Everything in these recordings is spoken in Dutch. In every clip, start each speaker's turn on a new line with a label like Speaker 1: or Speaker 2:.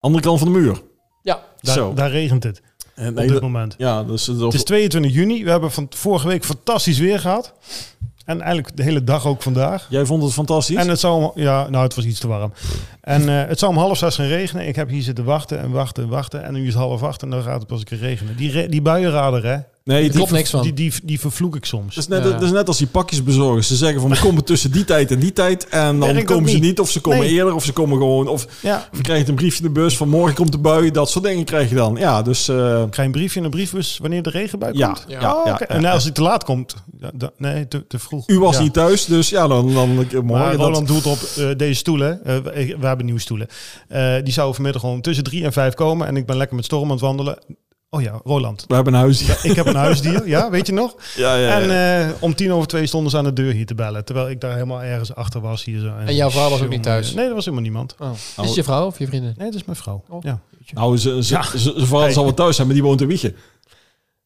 Speaker 1: Andere kant van de muur.
Speaker 2: Ja.
Speaker 3: Daar,
Speaker 1: Zo.
Speaker 3: daar regent het
Speaker 1: En
Speaker 3: op
Speaker 1: Eh, nee,
Speaker 3: dit
Speaker 1: dat-
Speaker 3: moment.
Speaker 1: ja, dus dat
Speaker 3: Het is 22 juni. We hebben van vorige week fantastisch weer gehad. En eigenlijk de hele dag ook vandaag.
Speaker 1: jij vond het fantastisch.
Speaker 3: En het zou om, ja, nou het was iets te warm. En eh, het zou om half zes gaan regenen. Ik heb hier zitten wachten en wachten en wachten. En nu is het half acht en dan gaat het pas een keer regenen. Die, re- die buienrader, hè,
Speaker 1: nee,
Speaker 2: Er
Speaker 1: die-
Speaker 2: klopt niks van.
Speaker 3: die, die, die vervloek ik soms.
Speaker 1: Het is, net,
Speaker 2: Ja.
Speaker 1: het is net als die pakjesbezorgers. Ze zeggen van we komen tussen die tijd en die tijd. En dan
Speaker 3: Werkt ook
Speaker 1: komen ze
Speaker 3: niet.
Speaker 1: niet. Of ze komen
Speaker 3: Nee.
Speaker 1: eerder. Of ze komen gewoon. Of
Speaker 3: ja,
Speaker 1: je krijgt een briefje in de bus. Van morgen komt de bui. Dat soort dingen krijg je dan. Ja, dus eh,
Speaker 3: ik krijg een briefje in een briefbus wanneer de regenbui
Speaker 1: Ja,
Speaker 3: komt.
Speaker 1: ja,
Speaker 3: Oh,
Speaker 1: ja,
Speaker 3: oké.
Speaker 1: ja,
Speaker 3: en
Speaker 1: ja.
Speaker 3: als hij te laat komt, ja, dan- nee, te, te vroeg.
Speaker 1: u was
Speaker 3: Ja.
Speaker 1: niet thuis. Dus ja, dan, dan morgen.
Speaker 3: Maar
Speaker 1: dat-
Speaker 3: Roland doelt op eh, deze stoelen. Eh, we, eh, we hebben nieuwe stoelen. Eh, die zouden vanmiddag gewoon tussen drie en vijf komen. En ik ben lekker met Storm aan het wandelen. Oh ja, Roland.
Speaker 1: we hebben een huisje.
Speaker 3: Ik heb een huisdier, ja, weet je nog?
Speaker 1: Ja, ja,
Speaker 3: En eh, om tien over twee stonden ze aan de deur hier te bellen. Terwijl ik daar helemaal ergens achter was. Hier zo.
Speaker 2: En jouw vrouw was ook niet
Speaker 3: Jongen,
Speaker 2: thuis?
Speaker 3: Nee, er was helemaal niemand.
Speaker 2: Oh. Is het je vrouw of je vriendin?
Speaker 3: Nee, dat is mijn vrouw.
Speaker 2: Oh.
Speaker 3: Ja.
Speaker 1: Nou, ze, ze,
Speaker 3: Ja.
Speaker 1: ze- zijn vader
Speaker 3: Hey.
Speaker 1: zal wel thuis zijn, maar die woont in Wiegen.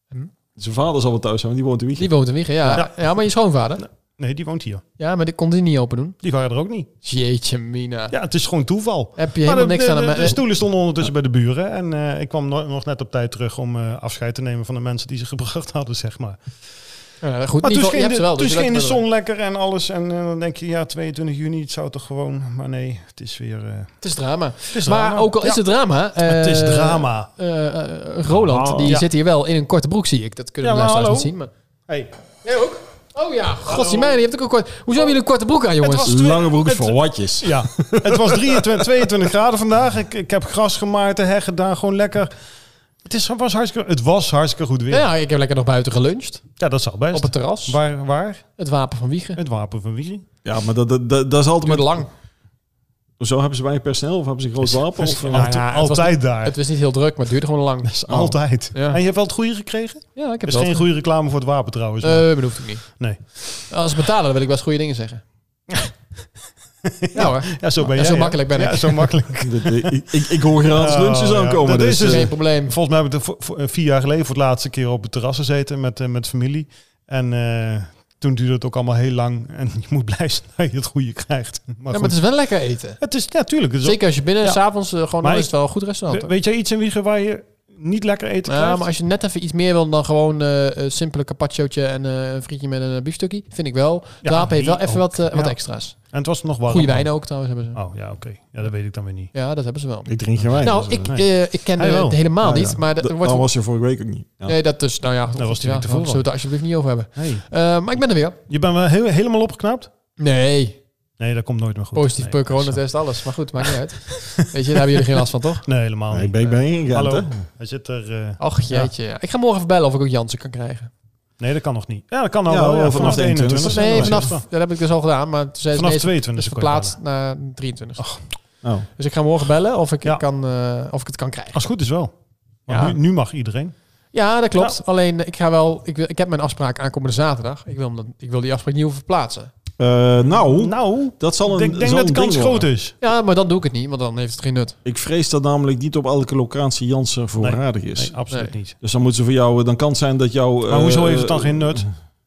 Speaker 2: Hm?
Speaker 1: Zijn vader zal wel thuis zijn, maar die woont in Wiegen.
Speaker 2: Die woont in Wiegen, ja.
Speaker 3: Ja.
Speaker 2: ja. maar je schoonvader?
Speaker 3: Nee, die woont hier.
Speaker 2: Ja, maar die kon die niet open doen.
Speaker 3: Die waren er ook niet.
Speaker 2: Jeetje mina.
Speaker 3: Ja, het is gewoon toeval.
Speaker 2: Heb je helemaal
Speaker 3: de,
Speaker 2: niks
Speaker 3: de-
Speaker 2: aan
Speaker 3: de,
Speaker 2: hem? Eh,
Speaker 3: de stoelen stonden ondertussen bij de buren. En eh, ik kwam no- nog net op tijd terug om eh, afscheid te nemen van de mensen die ze gebracht hadden, zeg maar.
Speaker 2: Ja, goed,
Speaker 3: Maar
Speaker 2: in ieder
Speaker 3: toen
Speaker 2: geval, je
Speaker 3: scheen,
Speaker 2: hebt
Speaker 3: de,
Speaker 2: ze wel.
Speaker 3: toen
Speaker 2: Dus je
Speaker 3: scheen de
Speaker 2: laat het wel.
Speaker 3: zon lekker en alles. En eh, dan denk je, ja, 22 juni, het zou toch gewoon... Maar nee, het is weer... eh,
Speaker 2: Het is drama.
Speaker 3: het is
Speaker 2: Maar
Speaker 3: drama.
Speaker 2: ook al is
Speaker 3: Ja,
Speaker 2: het drama...
Speaker 3: het is
Speaker 2: eh,
Speaker 3: drama.
Speaker 2: eh, eh, Roland,
Speaker 1: Oh.
Speaker 2: die
Speaker 3: Ja.
Speaker 2: zit hier wel in een korte broek, zie ik. Dat kunnen
Speaker 3: Ja,
Speaker 2: we
Speaker 3: maar
Speaker 2: luisteraars niet
Speaker 3: hallo.
Speaker 2: zien. Maar...
Speaker 3: Hey,
Speaker 2: Jij ook? Oh ja, god, die meiden, je hebt ook een kort... Hoezo hebben jullie een korte broek aan, jongens?
Speaker 3: was-
Speaker 1: Lange broekjes
Speaker 3: Het-
Speaker 1: voor watjes.
Speaker 3: Ja, het was 23, 22 graden vandaag. Ik, ik heb gras gemaaid, de heg gedaan, gewoon lekker. Het, is, was hartstikke, het was hartstikke goed weer. Ja,
Speaker 2: Ja, ik heb lekker nog buiten geluncht.
Speaker 3: dat zal best.
Speaker 2: Op het terras.
Speaker 3: waar, waar?
Speaker 2: Het wapen van Wiegen.
Speaker 3: Het wapen van Wierie.
Speaker 1: Ja, maar dat, dat, dat, dat is altijd
Speaker 2: Met
Speaker 1: met...
Speaker 2: lang.
Speaker 1: Zo hebben ze bij een personeel of hebben ze een groot wapen? Of,
Speaker 2: Nou ja,
Speaker 3: Altijd,
Speaker 2: het was
Speaker 3: altijd daar.
Speaker 2: Het was niet heel druk, maar het duurde gewoon lang.
Speaker 1: Oh.
Speaker 3: Altijd.
Speaker 2: Ja.
Speaker 3: En je hebt wel het goede gekregen?
Speaker 2: Ja, ik heb
Speaker 3: Dat is
Speaker 2: wel.
Speaker 3: geen goede reclame voor het wapen trouwens. Dus maar-
Speaker 2: Eh, dat hoeft ook niet. Nou,
Speaker 3: Nee.
Speaker 2: Als ze betalen, dan wil ik best goede dingen zeggen. nou hoor,
Speaker 3: ja, zo ben
Speaker 2: ja,
Speaker 3: jij,
Speaker 2: zo
Speaker 3: hè?
Speaker 2: makkelijk ben ik.
Speaker 3: Ja, zo makkelijk.
Speaker 1: ik, ik, ik hoor gratis
Speaker 3: Oh,
Speaker 1: lunches
Speaker 3: ja.
Speaker 1: aankomen.
Speaker 3: Dat
Speaker 1: dus,
Speaker 3: is dus-
Speaker 1: eh,
Speaker 2: geen probleem.
Speaker 3: Volgens mij hebben we het vo- vo- vier jaar geleden voor het laatste keer op het terras gezeten met, eh, met familie. En eh, toen duurde het ook allemaal heel lang. En je moet blij zijn dat je het goede krijgt. Maar,
Speaker 2: Ja,
Speaker 3: goed.
Speaker 2: maar het is wel lekker eten.
Speaker 3: het is natuurlijk. het is
Speaker 2: Zeker als je binnen
Speaker 3: Ja.
Speaker 2: s'avonds eh, gewoon
Speaker 3: Maar
Speaker 2: dan is het
Speaker 3: ik-
Speaker 2: wel een goed
Speaker 3: We-
Speaker 2: restaurant. hoor.
Speaker 3: weet jij iets in Wiegen waar je niet lekker eten
Speaker 2: Ja,
Speaker 3: krijgt?
Speaker 2: maar als je net even iets meer wil dan gewoon eh een simpele carpacciootje en eh, een frietje met een biefstukje, vind ik wel.
Speaker 3: Ja,
Speaker 2: Het wapen heeft wel
Speaker 3: die
Speaker 2: even
Speaker 3: ook.
Speaker 2: wat, eh, wat
Speaker 3: Ja.
Speaker 2: extra's.
Speaker 3: En het was nog warm.
Speaker 2: Goede wijn ook trouwens hebben ze.
Speaker 3: Oh ja, oké. Ja, dat weet ik dan weer niet.
Speaker 2: Ja, dat hebben ze wel.
Speaker 1: ik drink geen wijn.
Speaker 2: Nou,
Speaker 1: dus,
Speaker 2: ik,
Speaker 1: eh, nou
Speaker 3: nee.
Speaker 2: eh, ik ken
Speaker 3: Hij
Speaker 2: eh,
Speaker 3: wel.
Speaker 2: het
Speaker 1: ja,
Speaker 2: helemaal
Speaker 1: ja.
Speaker 2: niet, maar dat,
Speaker 1: Dat-
Speaker 2: er wordt...
Speaker 1: dan was je vorige week ook niet. Ja.
Speaker 2: Nee, dat is... Nou ja, goed,
Speaker 3: was die
Speaker 2: ja, dan
Speaker 3: week ervoor
Speaker 2: zullen we het er alsjeblieft niet over hebben.
Speaker 3: Hey.
Speaker 2: Eh, maar ik ben er weer.
Speaker 3: Je bent wel heel, helemaal opgeknapt?
Speaker 2: Nee,
Speaker 3: Nee, dat komt nooit meer goed.
Speaker 2: positief
Speaker 3: nee, dus,
Speaker 2: per
Speaker 3: dat is zo.
Speaker 2: coronatest, alles. Maar goed, maakt niet uit. Weet je, daar hebben jullie geen last van, toch?
Speaker 3: eh, Nee, helemaal
Speaker 1: Nee, ik
Speaker 3: niet.
Speaker 1: ben, ik ben ingegaan,
Speaker 3: Hallo.
Speaker 1: hè?
Speaker 3: Hij zit er... eh,
Speaker 2: Och, jeetje. ja. Ik ga morgen even bellen of ik ook Jansen kan krijgen.
Speaker 3: nee, dat kan nog niet. Ja, dat kan nou
Speaker 1: Ja,
Speaker 3: wel.
Speaker 1: wel
Speaker 3: ja,
Speaker 1: vanaf
Speaker 3: vanaf de
Speaker 1: de
Speaker 3: 21.
Speaker 1: Dat 21ste.
Speaker 2: Nee,
Speaker 1: wel
Speaker 2: vanaf... Dat heb ik dus al gedaan, maar toen zei ze...
Speaker 3: Vanaf
Speaker 2: nee, ze-
Speaker 3: 22
Speaker 2: is
Speaker 3: kon je
Speaker 2: verplaatst naar 23.
Speaker 1: Oh.
Speaker 2: Dus ik ga morgen bellen of ik,
Speaker 3: Ja.
Speaker 2: kan, eh, of ik het kan krijgen.
Speaker 3: Als het goed is wel. Maar
Speaker 2: Ja.
Speaker 3: nu, nu mag iedereen.
Speaker 2: Ja, dat klopt. Alleen eh, ik ga wel. Ik, wil, ik heb mijn afspraak aankomende zaterdag. Ik wil, hem dan- ik wil die afspraak nieuw verplaatsen.
Speaker 1: Eh, nou,
Speaker 3: Nou,
Speaker 1: dat zal
Speaker 3: ik
Speaker 1: een
Speaker 3: denk, denk
Speaker 1: zal
Speaker 3: dat de
Speaker 1: een
Speaker 3: kans
Speaker 1: ding
Speaker 3: groot
Speaker 1: worden.
Speaker 3: is.
Speaker 2: Ja, maar dan doe ik het niet, want dan heeft het geen nut.
Speaker 1: Ik vrees dat namelijk niet op elke locatie Jansen voorradig is.
Speaker 3: Nee, absoluut
Speaker 2: Nee.
Speaker 3: niet.
Speaker 1: Dus dan moeten ze voor jou, eh, dan kan het zijn dat jou...
Speaker 3: Maar
Speaker 1: eh,
Speaker 3: hoezo heeft het dan geen nut?
Speaker 1: eh,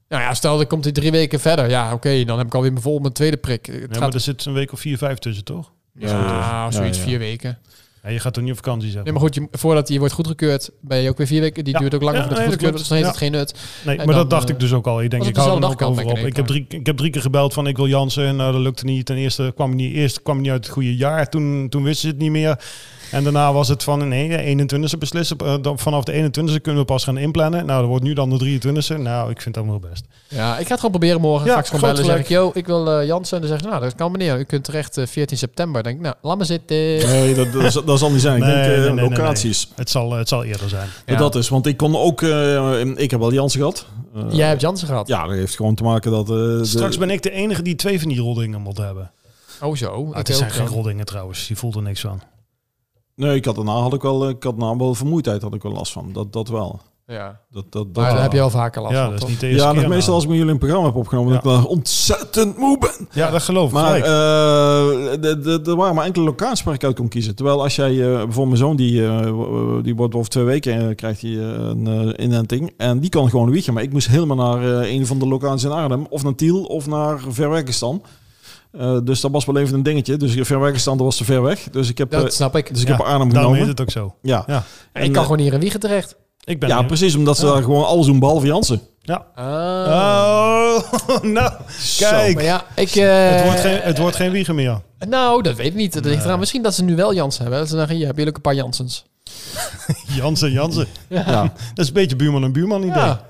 Speaker 2: Nou ja, stel dat komt hij drie weken verder. Ja, oké, dan heb ik alweer bijvoorbeeld mijn tweede prik. Het
Speaker 3: Nee, maar
Speaker 2: gaat,
Speaker 3: er zit een week of vier, vijf tussen, toch?
Speaker 2: ja,
Speaker 1: Ja,
Speaker 2: zoiets
Speaker 1: ja.
Speaker 2: vier weken.
Speaker 3: Ja, je gaat toch niet op vakantie zijn?
Speaker 2: Nee, maar goed, je, voordat die wordt goedgekeurd, ben je ook weer vier weken. Die
Speaker 3: Ja.
Speaker 2: duurt ook langer
Speaker 3: Ja,
Speaker 2: voordat
Speaker 3: nee,
Speaker 2: het
Speaker 3: dat
Speaker 2: goedgekeurd
Speaker 3: klopt.
Speaker 2: wordt. Dus dan heeft het
Speaker 3: Ja.
Speaker 2: geen nut.
Speaker 3: Nee,
Speaker 2: En
Speaker 3: maar dat
Speaker 2: dan,
Speaker 3: dacht
Speaker 2: eh,
Speaker 3: ik dus ook al. Ik denk,
Speaker 2: was
Speaker 3: ik
Speaker 2: op
Speaker 3: hou er dan
Speaker 2: dezelfde
Speaker 3: ook
Speaker 2: dag kan
Speaker 3: over op.
Speaker 2: ik
Speaker 3: Ik
Speaker 2: denken,
Speaker 3: heb, drie, ik heb drie keer gebeld van ik wil Jansen. En nou, dat lukte niet. Ten eerste kwam hij niet, eerst kwam hij niet uit het goede jaar. Toen, toen wisten ze het niet meer. En daarna was het van nee, 21e beslissen. Eh, dan Vanaf de 21e kunnen we pas gaan inplannen. Nou, dat wordt nu dan de 23e. Nou, ik vind dat wel best.
Speaker 2: Ja, ik ga het gewoon proberen morgen.
Speaker 3: Ja,
Speaker 2: ga ik ze gewoon
Speaker 3: groot
Speaker 2: bellen. Zeg ik,
Speaker 3: gelijk.
Speaker 2: yo, ik wil eh, Jansen. En dan zegt ze, nou, dat kan meneer. U kunt terecht eh, 14 september. Dan denk ik, nou, laat me zitten.
Speaker 1: Nee, dat, dat, zal- dat zal niet zijn. Ik
Speaker 3: Nee,
Speaker 1: denk eh,
Speaker 3: nee, nee, nee,
Speaker 1: locaties.
Speaker 3: Het zal, eh, het zal eerder zijn.
Speaker 2: Ja.
Speaker 1: Dat is, want ik kon ook... eh, ik heb wel Jansen gehad. Eh,
Speaker 2: Jij hebt Jansen gehad.
Speaker 1: Ja, dat heeft gewoon te maken dat... eh, de-
Speaker 3: Straks ben ik de enige die twee van die roldingen moet hebben.
Speaker 2: Oh zo.
Speaker 3: Ah,
Speaker 2: ik
Speaker 3: het zijn
Speaker 2: ook
Speaker 3: geen
Speaker 2: wel.
Speaker 3: roldingen trouwens. Die voelt er niks van.
Speaker 1: Nee, ik had daarna had ik wel, eh, ik had daarna wel vermoeidheid, had ik wel last van. Dat, dat wel.
Speaker 2: Ja.
Speaker 1: Dat, dat, dat
Speaker 2: Maar daar
Speaker 1: wel.
Speaker 2: heb je eh, al vaker last
Speaker 3: ja,
Speaker 2: van,
Speaker 3: dat
Speaker 2: toch?
Speaker 3: is niet de eerste
Speaker 1: Ja,
Speaker 3: keer.
Speaker 1: dat meestal als
Speaker 3: nou.
Speaker 1: ik met jullie een programma heb opgenomen, dat ik dan ontzettend moe ben.
Speaker 3: Ja, dat geloof ik.
Speaker 1: Maar
Speaker 3: gelijk.
Speaker 1: eh, de- de- er waren maar enkele locaties waar ik uit kon kiezen. Terwijl als jij, eh, bijvoorbeeld mijn zoon, die, eh, w- w- die wordt over twee weken, eh, krijgt hij eh, een eh, inenting. En die kan gewoon wiegen. Maar ik moest helemaal naar eh, een van de locaties in Arnhem. Of naar Tiel, of naar Verwerkistan. Eh, dus dat was wel even een dingetje. Dus je verwerkerstander was te ver weg. Dus ik heb, eh,
Speaker 2: Dat snap ik.
Speaker 1: dus ik
Speaker 3: Ja,
Speaker 1: heb Arnhem
Speaker 3: Daarom
Speaker 1: genomen.
Speaker 3: heet het ook zo.
Speaker 1: Ja.
Speaker 3: Ja.
Speaker 1: En,
Speaker 2: ik kan
Speaker 1: eh,
Speaker 2: gewoon hier in Wiegen terecht.
Speaker 3: Ik ben
Speaker 1: ja,
Speaker 3: benieuwd.
Speaker 1: precies. Omdat ze daar gewoon alles doen behalve Jansen.
Speaker 2: Ah.
Speaker 3: Oh, nou,
Speaker 1: Zo.
Speaker 3: kijk.
Speaker 2: maar ja, ik... eh,
Speaker 3: het, wordt geen, het wordt geen wiegen meer.
Speaker 2: Nou, dat weet ik niet. Dat ligt eraan. Misschien dat ze nu wel Jansen hebben. Dat ze zeggen, hier heb je ook een paar Jansens.
Speaker 3: Jansen, Jansen.
Speaker 1: Ja.
Speaker 3: Dat is een beetje buurman en buurman idee.
Speaker 2: Ja.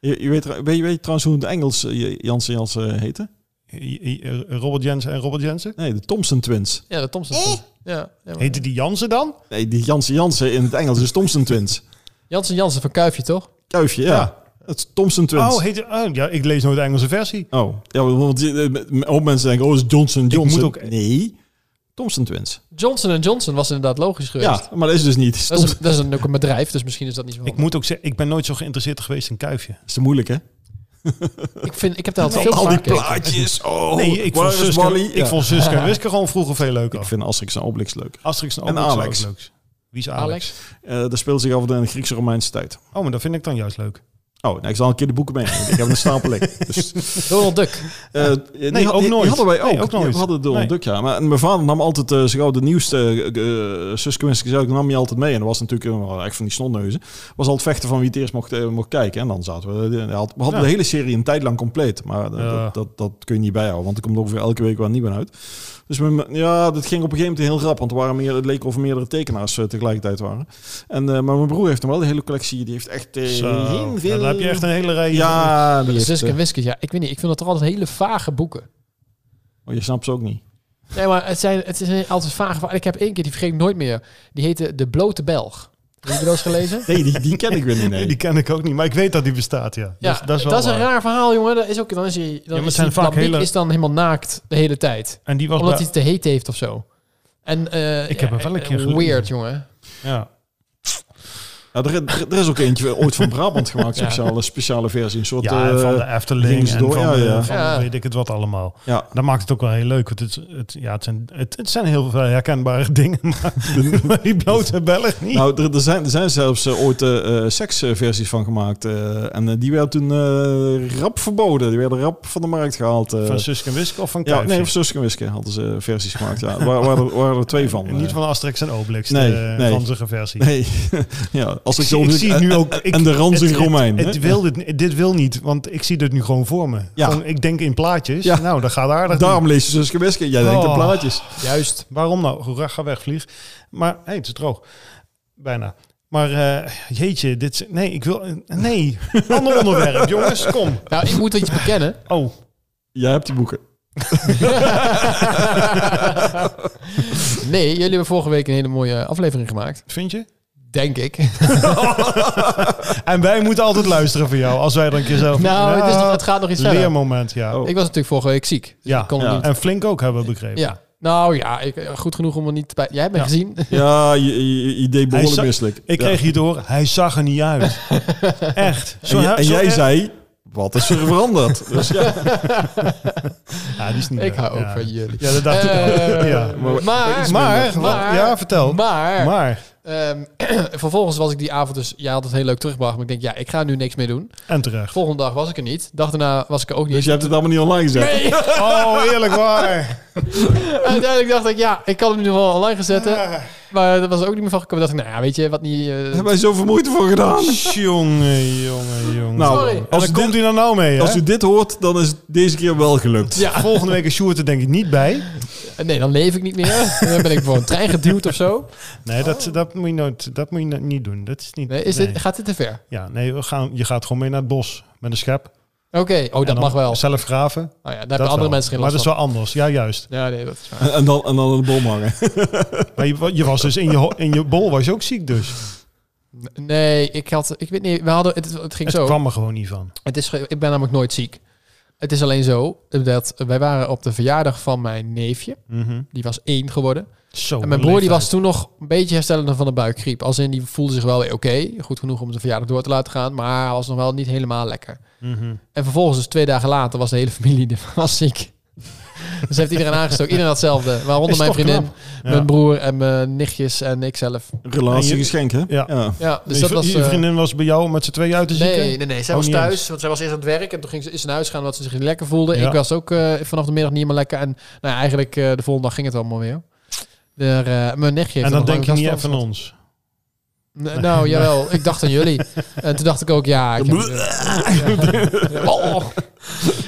Speaker 1: Je, je weet, weet, je weet trouwens hoe in het Engels eh, Jansen Jansen heette?
Speaker 3: I- I- Robert Jensen en Robert Jensen.
Speaker 1: Nee, de Thompson Twins.
Speaker 2: Ja, de Thompson. Ja, ja, maar-
Speaker 3: Heette die Jansen dan?
Speaker 1: Nee, die Jansen Jansen in het Engels is Thompson Twins.
Speaker 2: Jansen Jansen van Kuifje, toch?
Speaker 1: Kuifje, ja.
Speaker 3: Ja.
Speaker 1: Het is Thompson Twins.
Speaker 3: Oh, heette, oh, ja, ik lees nooit de Engelse versie.
Speaker 1: Oh, ja, want die- eh, een hoop mensen denken, oh, is Johnson Johnson.
Speaker 3: moet ook-
Speaker 1: Nee, Thompson Twins.
Speaker 2: Johnson Johnson was inderdaad logisch geweest.
Speaker 1: Ja, maar dat is dus niet.
Speaker 2: Dat is,
Speaker 1: Thompson-
Speaker 2: een, dat is een, ook een bedrijf, dus misschien is dat niet zo
Speaker 3: Ik
Speaker 2: handig.
Speaker 3: moet ook zeggen, ik ben nooit zo geïnteresseerd geweest in Kuifje.
Speaker 1: Dat is te moeilijk, hè?
Speaker 2: Ik, vind, ik heb daar altijd
Speaker 3: Nee,
Speaker 2: veel
Speaker 1: Al
Speaker 2: van
Speaker 1: die
Speaker 2: gekeken.
Speaker 1: plaatjes. Oh,
Speaker 3: Nee, ik
Speaker 1: waar
Speaker 3: vond
Speaker 1: is
Speaker 3: Suske,
Speaker 1: Wally?
Speaker 3: ik
Speaker 1: Ja.
Speaker 3: vond Suske en Wiske gewoon vroeger veel
Speaker 1: Ik
Speaker 3: leuker.
Speaker 1: vind Asterix en Obelix leuk.
Speaker 3: Asterix en
Speaker 1: En
Speaker 3: Obelix.
Speaker 1: Alex.
Speaker 3: ook leuk. Wie is Alex?
Speaker 2: Alex?
Speaker 1: Eh dat speelt zich af in de Griekse-Romeinse tijd.
Speaker 3: Oh, maar dat vind ik dan juist leuk.
Speaker 1: Oh, nou, ik zal een keer de boeken meenemen. ik heb een stapel liggen. Dus,
Speaker 2: Donald Duck.
Speaker 1: eh, die had-
Speaker 3: ook
Speaker 1: die-
Speaker 3: nooit.
Speaker 1: Die hadden wij ook.
Speaker 3: Nee, ook nooit.
Speaker 1: We hadden Donald
Speaker 3: Nee.
Speaker 1: Duck, ja. Maar en mijn vader nam altijd eh zo gauw de nieuwste eh, eh Suske Wiske Zuik nam je altijd mee. En dat was natuurlijk eh, wel eigenlijk van die snotneuzen. was al het vechten van wie het eerst mocht, eh, mocht kijken. En dan zaten we... eh, had- we hadden
Speaker 3: Ja.
Speaker 1: de hele serie een tijd lang compleet. Maar dat-
Speaker 3: Ja.
Speaker 1: dat, dat, dat kun je niet bijhouden. Want er komt ongeveer elke week wel een nieuwe uit. Dus mijn- ja, dat ging op een gegeven moment heel rap. Want er waren meer, het leek of er meerdere tekenaars eh, tegelijkertijd waren. En, eh, maar mijn broer heeft hem wel. De hele collectie. Die heeft echt... eh,
Speaker 3: Zo,
Speaker 1: heel
Speaker 3: nou,
Speaker 1: veel-
Speaker 3: dan heb je echt een hele rij.
Speaker 1: ja, die heeft,
Speaker 2: Suske
Speaker 1: eh,
Speaker 2: en Wiske, ja. Ik weet niet, ik vind dat toch altijd hele vage boeken.
Speaker 1: oh, je snapt ze ook niet.
Speaker 2: Nee, maar het zijn, het zijn altijd vage verhalen. Ik heb één keer, die vergeet ik nooit meer. Die heette De Blote Belg. Heb je die wel eens gelezen?
Speaker 1: Nee, die, die ken ik weer niet. Nee.
Speaker 3: Die ken ik ook niet, maar ik weet dat die bestaat, ja.
Speaker 2: Ja,
Speaker 3: dat, is- dat is wel
Speaker 2: een
Speaker 3: waar.
Speaker 2: raar verhaal, jongen. Dat is ook, dan is hij, dan
Speaker 3: maar het
Speaker 2: is
Speaker 3: zijn
Speaker 2: die
Speaker 3: vaak
Speaker 2: lambiek
Speaker 3: hele-
Speaker 2: is dan helemaal naakt de hele tijd.
Speaker 3: En die was
Speaker 2: Omdat
Speaker 3: bij-
Speaker 2: hij het te heet heeft of zo. En, eh,
Speaker 3: Ik heb
Speaker 2: ja,
Speaker 3: er wel een
Speaker 2: eh,
Speaker 3: keer gelezen.
Speaker 2: Weird, jongen.
Speaker 3: ja.
Speaker 1: Ja, er, er- er is ook eentje ooit van Brabant gemaakt.
Speaker 2: Ja.
Speaker 1: Speciale, speciale versie. Een soort...
Speaker 3: ja, en
Speaker 1: eh,
Speaker 3: van de Efteling
Speaker 1: gingen ze
Speaker 3: en
Speaker 1: door,
Speaker 3: van,
Speaker 1: ja,
Speaker 3: de-
Speaker 1: ja.
Speaker 3: van
Speaker 2: Ja.
Speaker 3: weet ik het wat allemaal.
Speaker 1: ja.
Speaker 3: Dat maakt het ook wel heel leuk. want Het, is- het, ja, het, zijn, het, het zijn heel veel herkenbare dingen, maar, maar die blote bellen niet.
Speaker 1: Nou, er, er zijn, er zijn zelfs eh, ooit eh, eh, seksversies van gemaakt. eh, en eh, die werden toen eh, rap verboden. Die werden rap van de markt gehaald. eh.
Speaker 3: van Suske en Wiske of van
Speaker 1: ja,
Speaker 3: Kuifje?
Speaker 1: nee, van Suske en Wiske hadden ze eh, versies gemaakt. Ja, waar, waar, er, waren er twee van.
Speaker 3: En niet
Speaker 1: eh.
Speaker 3: van Asterix en Obelix,
Speaker 1: Nee,
Speaker 3: de
Speaker 1: nee.
Speaker 3: ranzige versie.
Speaker 1: Nee, ja, als ik,
Speaker 3: zie-
Speaker 1: zo
Speaker 3: ik zie
Speaker 1: en-
Speaker 3: nu
Speaker 1: en-
Speaker 3: ook-
Speaker 1: en,
Speaker 3: ik-
Speaker 1: de ranzige
Speaker 3: Het- het-
Speaker 1: Romein.
Speaker 3: Het,
Speaker 1: hè?
Speaker 3: wil dit, dit wil niet, want ik zie dit nu gewoon voor me.
Speaker 1: Ja.
Speaker 3: Gewoon, ik denk in plaatjes.
Speaker 1: Ja.
Speaker 3: Nou, dat gaat aardig.
Speaker 1: Daarom lees je Suske en Wiske. Jij denkt aan
Speaker 3: Oh.
Speaker 1: plaatjes.
Speaker 2: Juist.
Speaker 3: Waarom nou? Hoera, ga weg, vlieg. Maar hey, het is droog. Bijna. Maar eh, jeetje, dit is- Nee, ik wil... Nee, ander onderwerp, jongens. Kom.
Speaker 2: Nou, ik moet iets bekennen.
Speaker 3: Oh,
Speaker 1: Jij hebt die boeken.
Speaker 2: nee, jullie hebben vorige week een hele mooie aflevering gemaakt.
Speaker 3: vind je?
Speaker 2: Denk ik.
Speaker 3: En wij moeten altijd luisteren voor jou, als wij dan een keer zelf...
Speaker 2: nou, het, is, nog- het gaat nog iets verder.
Speaker 3: Leermoment, ja.
Speaker 1: Oh.
Speaker 2: Nou, Ik was natuurlijk vorige week ziek. Dus
Speaker 3: Ja.
Speaker 2: ik kon
Speaker 1: Ja.
Speaker 2: het niet.
Speaker 3: En flink ook, hebben we begrepen.
Speaker 2: Ja. Nou ja, ik, goed genoeg om er niet bij... Jij hebt me
Speaker 3: Ja.
Speaker 2: gezien.
Speaker 1: Ja, je, je, je deed behoorlijk
Speaker 3: zag-
Speaker 1: misselijk.
Speaker 3: Ik
Speaker 1: Ja.
Speaker 3: kreeg hier door, hij zag er niet uit. Echt.
Speaker 1: En, j-
Speaker 3: hij-
Speaker 1: en jij
Speaker 3: erg-
Speaker 1: zei, wat is er veranderd? Dus ja,
Speaker 3: Ja, die is niet
Speaker 2: Ik
Speaker 3: leuk.
Speaker 2: hou ook
Speaker 3: Ja.
Speaker 2: van jullie.
Speaker 3: Ja, dat dacht ik ook.
Speaker 2: Eh,
Speaker 3: Ja.
Speaker 2: Maar, maar,
Speaker 3: Maar, wat- ja, vertel.
Speaker 2: Maar,
Speaker 3: Maar,
Speaker 2: ehm, vervolgens was ik die avond dus... Jij had het heel leuk teruggebracht. Maar ik denk, ja, ik ga nu niks meer doen.
Speaker 3: en terecht.
Speaker 2: Volgende dag was ik er niet. Dag daarna was ik er ook niet.
Speaker 1: dus je hebt het allemaal niet online gezet.
Speaker 2: Nee!
Speaker 3: Oh, eerlijk waar.
Speaker 2: Uiteindelijk dacht ik, ja, ik kan hem nu wel online gezet hebben. Maar dat was er ook niet meer van gekomen. dacht ik, nou ja, weet je, wat niet... eh,
Speaker 1: Daar hebben wij zoveel moeite voor gedaan.
Speaker 3: Jongen, jongen, jongen.
Speaker 1: Nou,
Speaker 2: Sorry.
Speaker 3: als
Speaker 1: als, u
Speaker 3: komt
Speaker 1: dit,
Speaker 3: hij nou nou mee, hè?
Speaker 1: als u dit hoort, dan is het deze keer wel gelukt.
Speaker 2: ja,
Speaker 3: Volgende week is Sjoerd er denk ik niet bij.
Speaker 2: nee, dan leef ik niet meer. Dan ben ik voor een trein geduwd of zo.
Speaker 3: Nee, dat, dat moet je, nooit, dat moet je no- niet doen. Dat is niet...
Speaker 2: Nee, is
Speaker 3: nee.
Speaker 2: Dit, gaat dit te ver?
Speaker 3: Ja, nee, we gaan, je gaat gewoon mee naar het bos met een schep.
Speaker 2: Oké, oh,
Speaker 3: En
Speaker 2: dat
Speaker 3: dan
Speaker 2: mag wel. Nou
Speaker 3: Zelf graven.
Speaker 2: ja, daar hebben andere
Speaker 3: wel.
Speaker 2: mensen geen
Speaker 3: Maar
Speaker 2: last
Speaker 3: dat is
Speaker 2: van.
Speaker 3: wel anders. Ja, juist.
Speaker 2: Ja, nee, dat is waar.
Speaker 1: En, en dan, en dan een bom hangen.
Speaker 3: Maar je, je was dus in je, ho- in je bol was je ook ziek dus.
Speaker 2: Nee, ik had... Ik weet niet, we hadden... Het, het ging
Speaker 3: Het
Speaker 2: zo.
Speaker 3: kwam er gewoon niet van.
Speaker 2: Het is, ge- ik ben namelijk nooit ziek. Het is alleen zo dat wij waren op de verjaardag van mijn neefje.
Speaker 3: Mhm.
Speaker 2: Die was één geworden.
Speaker 3: Zo.
Speaker 2: en mijn broer die
Speaker 3: leeftijd.
Speaker 2: was toen nog een beetje herstellende van de buikgriep. Als in, die voelde zich wel weer oké. goed genoeg om zijn verjaardag door te laten gaan. Maar hij was nog wel niet helemaal lekker.
Speaker 3: Mhm.
Speaker 2: En vervolgens, dus twee dagen later, was de hele familie was ziek. Dus heeft iedereen aangestoken. Iedereen had hetzelfde. Waaronder
Speaker 3: Is
Speaker 2: mijn
Speaker 3: toch
Speaker 2: vriendin,
Speaker 3: knap.
Speaker 2: mijn broer en mijn nichtjes en ikzelf.
Speaker 1: Relatie
Speaker 3: En je-
Speaker 1: geschenk, hè?
Speaker 3: Ja.
Speaker 2: Ja, dus
Speaker 3: je,
Speaker 2: dat
Speaker 3: vri-
Speaker 2: was...
Speaker 3: je
Speaker 2: eh,
Speaker 3: vriendin was bij jou met z'n tweeën uit te zieken?
Speaker 2: Nee, nee, nee. Zij
Speaker 3: Oh,
Speaker 2: was
Speaker 3: niet
Speaker 2: thuis,
Speaker 3: eens.
Speaker 2: want zij was eerst aan het werk. En toen ging ze, is ze naar huis gaan omdat ze zich niet lekker voelde.
Speaker 3: Ja.
Speaker 2: Ik was ook eh, vanaf de middag niet meer lekker. En nou ja, eigenlijk eh, de volgende dag ging het allemaal weer. Er, eh, mijn nichtje heeft
Speaker 3: En
Speaker 2: er
Speaker 3: dan
Speaker 2: nog
Speaker 3: denk je
Speaker 2: lang
Speaker 3: niet
Speaker 2: last
Speaker 3: even aan ons.
Speaker 2: N- nou, jawel. Ik dacht aan jullie. En toen dacht ik ook, ja... Ik heb, Ja. Oh.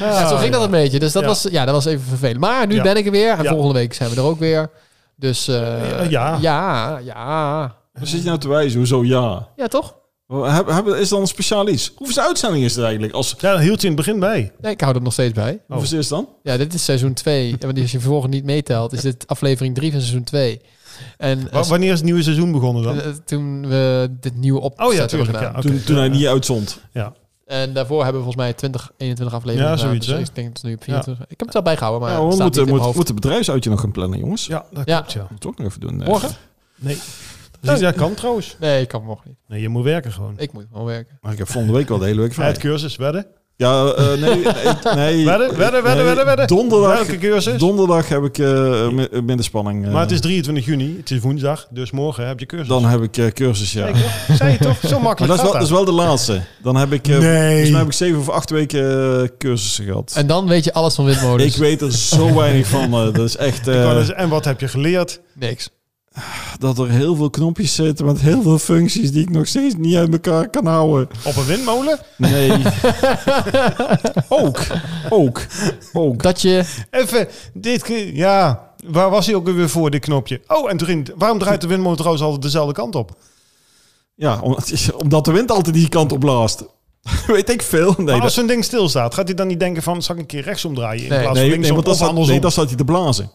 Speaker 2: En zo ging dat een beetje. Dus dat,
Speaker 3: Ja.
Speaker 2: was, ja, dat was even vervelend. Maar nu
Speaker 3: Ja.
Speaker 2: ben ik er weer. En
Speaker 3: Ja.
Speaker 2: volgende week zijn we er ook weer. Dus eh,
Speaker 3: Ja.
Speaker 2: ja, ja.
Speaker 1: Waar zit je nou te wijzen? Hoezo ja?
Speaker 2: Ja, toch?
Speaker 1: Heb, heb, is dan een speciaal iets? Hoeveel uitzending is er eigenlijk? Als,
Speaker 3: Ja, dat hield je in het begin bij.
Speaker 2: Nee, ik hou er nog steeds bij.
Speaker 1: Hoeveel is het dan?
Speaker 2: Ja, dit is seizoen 2. Want als je vervolgens niet meetelt, is dit aflevering 3 van seizoen 2. En eh,
Speaker 3: Wa- wanneer is het nieuwe seizoen begonnen dan?
Speaker 2: eh, toen we dit nieuwe
Speaker 3: Oh ja,
Speaker 2: opzetten hebben
Speaker 3: tuurlijk.
Speaker 2: gedaan.
Speaker 3: Ja, oké.
Speaker 1: toen toen hij die uitzond.
Speaker 2: En daarvoor hebben we volgens mij 20, 21 afleveringen
Speaker 3: Ja,
Speaker 2: gedaan.
Speaker 3: zoiets,
Speaker 2: Dus
Speaker 3: hè?
Speaker 2: ik denk dat het nu op 24. Ik heb het wel bijgehouden, maar
Speaker 1: Ja,
Speaker 2: het
Speaker 1: we
Speaker 2: staat niet
Speaker 1: moeten
Speaker 2: in mijn
Speaker 1: moet,
Speaker 2: hoofd.
Speaker 1: moet het bedrijfsuitje nog gaan plannen, jongens.
Speaker 3: Ja, dat
Speaker 2: Ja.
Speaker 3: klopt, ja.
Speaker 1: Dat moet ook nog even doen. eh.
Speaker 2: Morgen?
Speaker 3: Nee. Precies, dat kan trouwens.
Speaker 2: Nee, ik kan morgen niet.
Speaker 3: Nee, je moet werken gewoon.
Speaker 2: Ik moet gewoon werken.
Speaker 1: Maar ik heb volgende week wel de hele week vrij.
Speaker 3: Het cursus, wedden.
Speaker 1: Ja, eh, nee, nee, nee.
Speaker 3: Wedden, wedden, wedden,
Speaker 1: Nee,
Speaker 3: wedden, wedden.
Speaker 1: Donderdag,
Speaker 3: Welke cursus?
Speaker 1: donderdag heb ik eh, mi- eh, minder spanning. eh.
Speaker 3: Maar het is 23 juni, het is woensdag, dus morgen heb je cursus.
Speaker 1: Dan heb ik eh, cursus, ja.
Speaker 3: Kijk, hoor. zei je toch? Zo
Speaker 1: Maar
Speaker 3: makkelijk
Speaker 1: dat is, wel, dat
Speaker 3: gaat
Speaker 1: is wel de laatste. Dan heb ik, eh,
Speaker 3: Nee.
Speaker 1: volgens mij heb ik zeven of acht weken eh, cursussen gehad.
Speaker 2: En dan weet je alles van windmolens.
Speaker 1: ik weet er zo weinig van. eh, dat is echt
Speaker 3: nou dus. Ik
Speaker 1: eh,
Speaker 3: wou net zeggen, En wat heb je geleerd?
Speaker 2: Niks.
Speaker 1: dat er heel veel knopjes zitten met heel veel functies die ik nog steeds niet uit elkaar kan houden.
Speaker 3: Op een windmolen?
Speaker 1: Nee. ook. Ook. Ook.
Speaker 2: Dat je...
Speaker 3: Even, dit... keer- Ja, waar was hij ook weer voor, dit knopje? Oh, en toen ging het- Waarom draait de windmolen trouwens altijd dezelfde kant op?
Speaker 1: Ja, omdat, omdat de wind altijd die kant op blaast. weet ik veel. Nee,
Speaker 3: maar als
Speaker 1: dat,
Speaker 3: zo'n ding stilstaat, gaat hij dan niet denken van... zal ik een keer rechtsom draaien in
Speaker 2: Nee,
Speaker 3: plaats van
Speaker 1: nee, nee,
Speaker 3: linksom
Speaker 1: want dat
Speaker 3: of
Speaker 1: staat,
Speaker 3: andersom?
Speaker 1: nee, dat staat hij te blazen.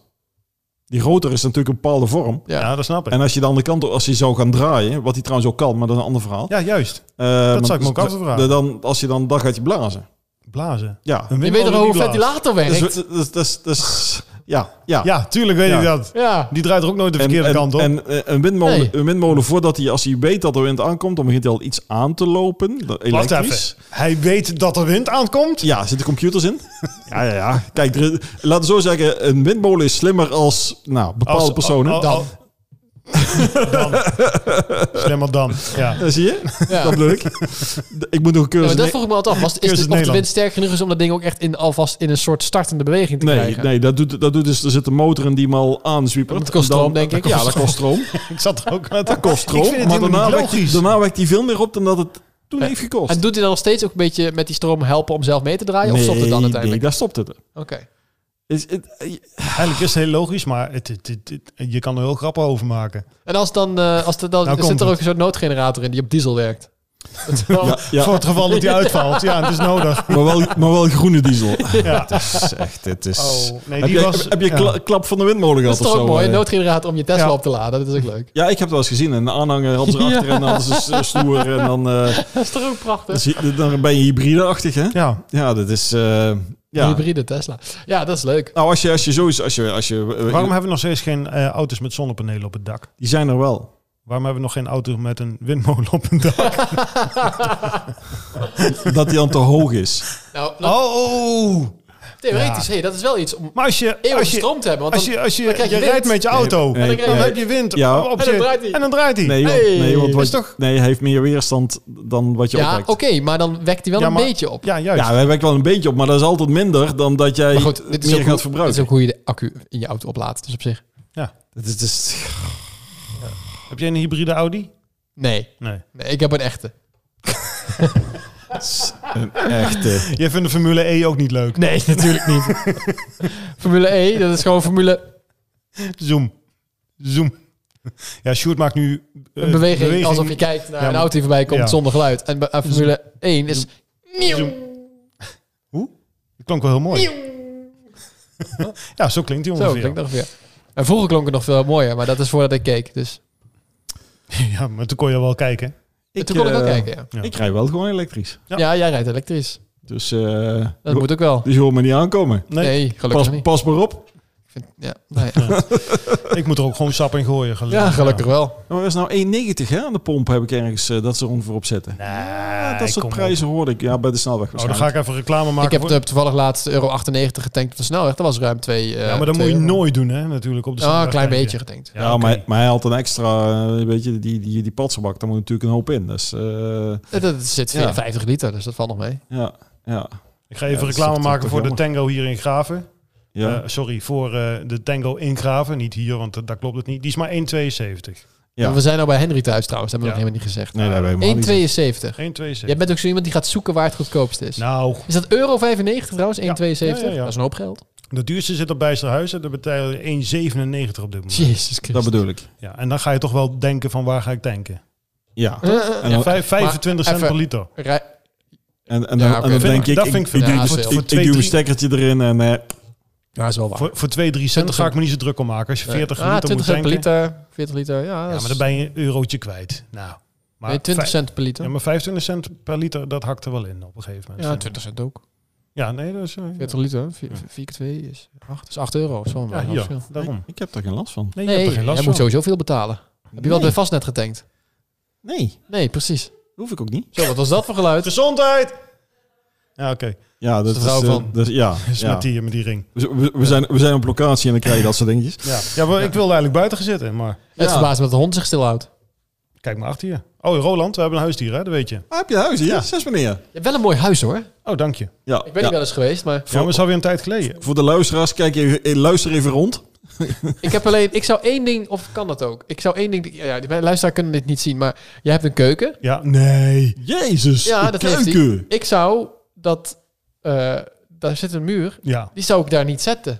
Speaker 1: Die rotor is natuurlijk een bepaalde vorm.
Speaker 2: Ja.
Speaker 3: Ja, dat snap ik.
Speaker 1: En als je dan de kant op, als je zou gaan draaien, wat hij trouwens ook kan, maar dat is een ander verhaal.
Speaker 3: Ja, juist.
Speaker 1: Eh,
Speaker 3: Dat
Speaker 1: maar
Speaker 3: zou ik me ook
Speaker 1: dus
Speaker 3: altijd vragen.
Speaker 1: Dan, als je dan, dan gaat je blazen.
Speaker 3: Blazen.
Speaker 1: Ja.
Speaker 3: Een
Speaker 2: Je weet
Speaker 3: windmolen
Speaker 2: toch wel hoe
Speaker 3: die blaast.
Speaker 2: ventilator
Speaker 1: Dus,
Speaker 2: werkt?
Speaker 1: dus, dus, dus- ja, ja.
Speaker 3: Ja, tuurlijk weet
Speaker 1: Ja.
Speaker 3: ik dat.
Speaker 2: Ja.
Speaker 3: Die draait er ook nooit de
Speaker 1: En,
Speaker 3: verkeerde
Speaker 1: en-
Speaker 3: kant op.
Speaker 1: en, eh, een, windmolen,
Speaker 2: Nee.
Speaker 1: een windmolen, voordat hij, als hij weet dat er wind aankomt, dan begint hij al iets aan te lopen. dat-
Speaker 3: Wacht
Speaker 1: Elektrisch.
Speaker 3: even. Hij weet dat er wind aankomt.
Speaker 1: Ja, zitten computers in? ja, ja, ja. Kijk, er is- laten we zo zeggen, een windmolen is slimmer als nou, bepaalde
Speaker 3: Als-
Speaker 1: personen.
Speaker 3: al- al-
Speaker 2: Dan.
Speaker 3: Dan. Slimmer dan. Ja.
Speaker 1: Eh, zie je?
Speaker 2: Ja.
Speaker 1: Dat bedoel ik. ik moet nog een
Speaker 2: Ja, maar
Speaker 1: cursus...
Speaker 2: dat vroeg ik me altijd af. Was, is
Speaker 3: Cursus
Speaker 2: de, of de
Speaker 3: Nederland.
Speaker 2: wind sterk genoeg is om dat ding ook echt in, alvast in een soort startende beweging te
Speaker 1: Nee,
Speaker 2: krijgen?
Speaker 1: nee dat, doet, dat doet dus... Er zit een motor in die hem al aanzwiepert.
Speaker 2: Dat kost
Speaker 1: Dan-
Speaker 2: stroom, denk ik.
Speaker 1: Ja, dat kost stroom.
Speaker 3: Ik zat er ook met dat
Speaker 1: kost
Speaker 3: Ik
Speaker 1: stroom.
Speaker 3: vind het
Speaker 1: Maar
Speaker 3: helemaal
Speaker 1: daarna
Speaker 3: niet
Speaker 1: wekt, die,
Speaker 3: logisch.
Speaker 1: daarna wekt die veel meer op dan dat het toen
Speaker 2: Eh,
Speaker 1: heeft gekost.
Speaker 2: En doet hij dan nog steeds ook een beetje met die stroom helpen om zelf mee te draaien? of stopt het dan
Speaker 1: Nee,
Speaker 2: uiteindelijk?
Speaker 1: daar stopt het.
Speaker 2: Oké.
Speaker 1: Is, het eh,
Speaker 3: Eigenlijk is het heel logisch, maar het, het, het- het- je kan er heel grappig over maken.
Speaker 2: En als dan, eh, als de, dan
Speaker 3: Nou
Speaker 2: zit
Speaker 3: komt
Speaker 2: er ook
Speaker 3: het.
Speaker 2: een soort noodgenerator in die op diesel werkt. Dat is wel-
Speaker 1: ja, ja,
Speaker 3: Voor het geval dat die uitvalt. Ja, het is nodig.
Speaker 1: maar, wel, maar wel groene diesel.
Speaker 3: Ja.
Speaker 1: is echt, het is...
Speaker 3: Oh, nee,
Speaker 1: heb
Speaker 3: die
Speaker 1: je,
Speaker 3: was,
Speaker 1: heb je
Speaker 3: ja.
Speaker 1: kla- klap van de windmolen
Speaker 2: dat
Speaker 1: gehad
Speaker 2: is toch
Speaker 1: of
Speaker 2: ook
Speaker 1: zo?
Speaker 2: mooi, een
Speaker 1: eh?
Speaker 2: noodgenerator om je Tesla
Speaker 3: Ja.
Speaker 2: op te laden. Dat is ook leuk.
Speaker 1: Ja, ik heb het wel eens gezien. Een aanhanger had ze achter en dan hadden ze s- eh, stoer. En dan, eh,
Speaker 2: Dat is toch ook
Speaker 1: dan
Speaker 2: prachtig?
Speaker 1: zie- dan ben je hybride-achtig, hè?
Speaker 3: Ja.
Speaker 1: Ja, dat is... eh,
Speaker 2: Ja.
Speaker 1: ja.
Speaker 2: Hybride Tesla. Ja, dat is leuk.
Speaker 1: Nou, als je, als je sowieso... Als je, als je, eh,
Speaker 3: Waarom hebben we nog steeds geen eh, auto's met zonnepanelen op het dak?
Speaker 1: Die zijn er wel.
Speaker 3: Waarom hebben we nog geen auto met een windmolen op het dak?
Speaker 1: Dat die dan te hoog is.
Speaker 2: Nou, nou,
Speaker 3: Oh!
Speaker 2: theoretisch, hey, dat is wel iets om
Speaker 3: Maar als je,
Speaker 2: eeuwig
Speaker 3: als je,
Speaker 2: stroom te hebben. Want
Speaker 3: als
Speaker 2: dan-
Speaker 3: je, als je,
Speaker 2: dan krijg je
Speaker 3: je
Speaker 2: wind.
Speaker 3: rijdt met je auto,
Speaker 1: Nee,
Speaker 2: dan krijg je
Speaker 3: dan
Speaker 1: nee.
Speaker 3: heb je wind
Speaker 1: Ja.
Speaker 3: op
Speaker 2: En dan
Speaker 3: je-
Speaker 2: draait hij.
Speaker 3: En dan draait hij.
Speaker 1: Nee, want,
Speaker 2: Hey.
Speaker 1: nee, want wat,
Speaker 3: Is toch-
Speaker 1: nee, hij heeft meer weerstand dan wat je
Speaker 2: ja,
Speaker 1: opwekt.
Speaker 2: oké, maar dan wekt hij wel
Speaker 3: Ja,
Speaker 2: een
Speaker 3: maar-
Speaker 2: beetje op.
Speaker 3: Ja, juist.
Speaker 1: Ja, hij wekt wel een beetje op, maar dat is altijd minder dan dat jij
Speaker 2: Maar goed, dit is,
Speaker 1: meer gaat
Speaker 2: ook hoe, dit is
Speaker 1: verbruiken.
Speaker 2: ook hoe je de accu in je auto oplaadt. Dus op zich.
Speaker 1: Het is, het is-
Speaker 3: Heb jij een hybride Audi?
Speaker 2: Nee,
Speaker 3: Nee.
Speaker 2: nee ik heb een echte.
Speaker 1: het is een echte.
Speaker 3: Jij vindt de Formule E ook niet leuk?
Speaker 2: Nee, natuurlijk niet. Formule E, dat is gewoon Formule
Speaker 3: Zoom. Zoom. Ja, Sjoerd maakt nu... eh,
Speaker 2: een beweging, Alsof je kijkt naar
Speaker 3: Ja,
Speaker 2: een
Speaker 3: maar-
Speaker 2: auto die voorbij komt
Speaker 3: Ja. Dus-
Speaker 2: zonder geluid. En bij eh, Formule 1 is...
Speaker 3: Dat klonk wel heel mooi. Ja, zo klinkt hij
Speaker 2: Zo,
Speaker 3: ongeveer.
Speaker 2: klinkt nog weer. En vroeger klonk het nog veel mooier, maar dat is voordat ik keek. Dus
Speaker 3: Ja, maar toen kon je wel kijken.
Speaker 2: En toen kon ik ook
Speaker 1: eh,
Speaker 2: kijken, ja.
Speaker 3: Ja.
Speaker 1: Ik rij wel gewoon elektrisch.
Speaker 3: ja.
Speaker 2: ja. jij rijdt elektrisch.
Speaker 1: Dus, eh
Speaker 2: Dat moet ook wel.
Speaker 1: dus je hoort me niet aankomen.
Speaker 2: Nee,
Speaker 3: Nee.
Speaker 2: gelukkig
Speaker 1: Pas,
Speaker 2: niet.
Speaker 1: pas maar op.
Speaker 2: vind, ja, nou ja.
Speaker 3: Ik moet er ook gewoon sap in gooien, gelukkig.
Speaker 2: ja, gelukkig wel.
Speaker 1: Maar dat is nou 1,90 hè, aan de pomp heb ik ergens eh, dat ze ongeveer op zetten.
Speaker 3: Nee,
Speaker 1: dat
Speaker 3: kom
Speaker 1: soort
Speaker 3: op.
Speaker 1: prijzen hoorde ik. Ja, bij de snelweg
Speaker 3: Oh, dan ga
Speaker 1: waarschijnlijk.
Speaker 3: ik even reclame maken.
Speaker 2: ik heb
Speaker 3: voor-
Speaker 2: eh, toevallig laatst euro 98 getankt op de snelweg. Dat was ruim twee. eh,
Speaker 3: ja, maar dat
Speaker 2: twee
Speaker 3: moet je
Speaker 2: euro.
Speaker 3: nooit doen, hè? Natuurlijk op de
Speaker 2: Ah, een
Speaker 3: snelweg,
Speaker 2: klein
Speaker 3: denk je.
Speaker 2: beetje getankt.
Speaker 1: ja,
Speaker 3: oké.
Speaker 1: maar, maar hij had een extra, eh, weet je, die, die, die patsenbak, daar moet natuurlijk een hoop in. Dus eh,
Speaker 2: Eh, Dat zit
Speaker 1: Ja.
Speaker 2: 50 liter, dus dat valt nog mee.
Speaker 1: ja, ja.
Speaker 3: Ik ga
Speaker 1: Ja,
Speaker 3: even
Speaker 1: dat is
Speaker 3: reclame
Speaker 1: toch-
Speaker 3: maken
Speaker 1: toch
Speaker 3: voor de
Speaker 1: jammer.
Speaker 3: Tango hier in Graven.
Speaker 1: Ja,
Speaker 3: Eh, sorry, voor eh, de Tango in Graven. Niet hier, want eh, daar klopt het niet. Die is maar 1,72.
Speaker 1: Ja.
Speaker 2: Maar We zijn nou bij Henry thuis trouwens, dat hebben we
Speaker 3: Ja.
Speaker 2: nog helemaal niet gezegd.
Speaker 1: nee, daar ben ik
Speaker 2: 1,72.
Speaker 3: 1,72.
Speaker 2: Jij bent ook zo iemand die gaat zoeken waar het goedkoopst is.
Speaker 3: Nou,
Speaker 2: Is dat euro 95 trouwens? 1,72?
Speaker 3: Ja, ja, ja.
Speaker 2: Dat is een hoop geld.
Speaker 3: de duurste zit op Bijsterhuizen. Dat betaal je 1,97 op dit moment.
Speaker 2: Jezus Christus.
Speaker 1: Dat bedoel ik.
Speaker 3: Ja, en dan ga je toch wel denken van waar ga ik tanken?
Speaker 1: Ja.
Speaker 2: Eh, eh,
Speaker 1: Ja.
Speaker 3: Vijf- 25 cent
Speaker 2: even-
Speaker 3: per liter.
Speaker 2: rij-
Speaker 1: En, en,
Speaker 2: Ja,
Speaker 1: dan,
Speaker 2: oké.
Speaker 1: en dan
Speaker 2: Vind
Speaker 1: denk
Speaker 3: ik-
Speaker 1: ik,
Speaker 3: dat
Speaker 1: ik,
Speaker 3: vind ik
Speaker 1: ik,
Speaker 2: veel.
Speaker 1: duw-
Speaker 2: Ja,
Speaker 1: ik,
Speaker 2: dat is veel.
Speaker 1: ik
Speaker 3: Voor twee,
Speaker 1: duw een
Speaker 3: drie-
Speaker 1: stekkertje erin en eh,
Speaker 2: Ja, is wel waar.
Speaker 3: Voor, voor 2, 3 cent
Speaker 2: 20
Speaker 3: ga ik me niet zo druk om maken. Als je 40
Speaker 2: ah,
Speaker 3: liter
Speaker 2: 20
Speaker 3: moet
Speaker 2: cent per
Speaker 3: tanken.
Speaker 2: liter. 40 liter, ja.
Speaker 3: Ja,
Speaker 2: dat
Speaker 3: maar
Speaker 2: is-
Speaker 3: dan ben je een eurotje kwijt. Nou, maar
Speaker 2: nee, 20
Speaker 3: vijf-
Speaker 2: cent per liter.
Speaker 3: Ja, maar 25 cent per liter, dat hakt er wel in op een gegeven moment.
Speaker 2: Ja, 20 cent ook.
Speaker 3: Ja, nee, dat is... eh,
Speaker 2: 40 liter, 4 keer 2 is 8. is 8 euro. Zo
Speaker 3: ja, hier, daarom.
Speaker 1: ik heb daar geen last van.
Speaker 3: Nee, je
Speaker 2: Nee,
Speaker 3: hebt er geen
Speaker 2: jij
Speaker 3: last
Speaker 2: moet
Speaker 3: van.
Speaker 2: sowieso veel betalen. Heb je wel bij Vastnet getankt?
Speaker 1: Nee, nee,
Speaker 2: Nee, precies.
Speaker 1: hoef ik ook niet.
Speaker 2: Zo, wat was dat voor geluid?
Speaker 3: Gezondheid! Ja, oké.
Speaker 1: Ja, dat
Speaker 2: de
Speaker 1: is,
Speaker 2: vrouw
Speaker 1: eh,
Speaker 2: van.
Speaker 1: dat is- ja,
Speaker 3: Dus
Speaker 1: ja.
Speaker 3: met, die, met die ring.
Speaker 1: We, we- we zijn, we zijn op locatie en dan krijg je dat soort dingetjes.
Speaker 3: Ja, ja, maar ik wilde eigenlijk buiten gaan zitten, maar...
Speaker 2: Het verbaast me dat de hond zich stilhoudt.
Speaker 3: Kijk maar achter je. Oh, Roland, we hebben een huisdier, hè? Dat weet je.
Speaker 1: Ah, heb je huis hier?
Speaker 3: Ja.
Speaker 1: Zes meneer.
Speaker 2: Je hebt wel een mooi huis hoor.
Speaker 3: Oh, dank je.
Speaker 1: Ja,
Speaker 2: Ik ben
Speaker 1: ja.
Speaker 2: niet wel eens geweest, maar
Speaker 3: Ja, maar is alweer een tijd geleden.
Speaker 1: Voor de luisteraars, kijk even, eh, luister even rond.
Speaker 2: ik heb alleen... Ik zou één ding... Of kan dat ook? Ik zou één ding... Ja, ja, mijn luisteraar kunnen dit niet zien, maar jij hebt een keuken.
Speaker 3: Ja, nee.
Speaker 1: Jezus,
Speaker 2: Ja,
Speaker 1: de
Speaker 2: dat heeft
Speaker 1: keuken.
Speaker 2: hij. Ik zou dat... eh, daar zit een muur.
Speaker 3: Ja.
Speaker 2: Die zou ik daar niet zetten.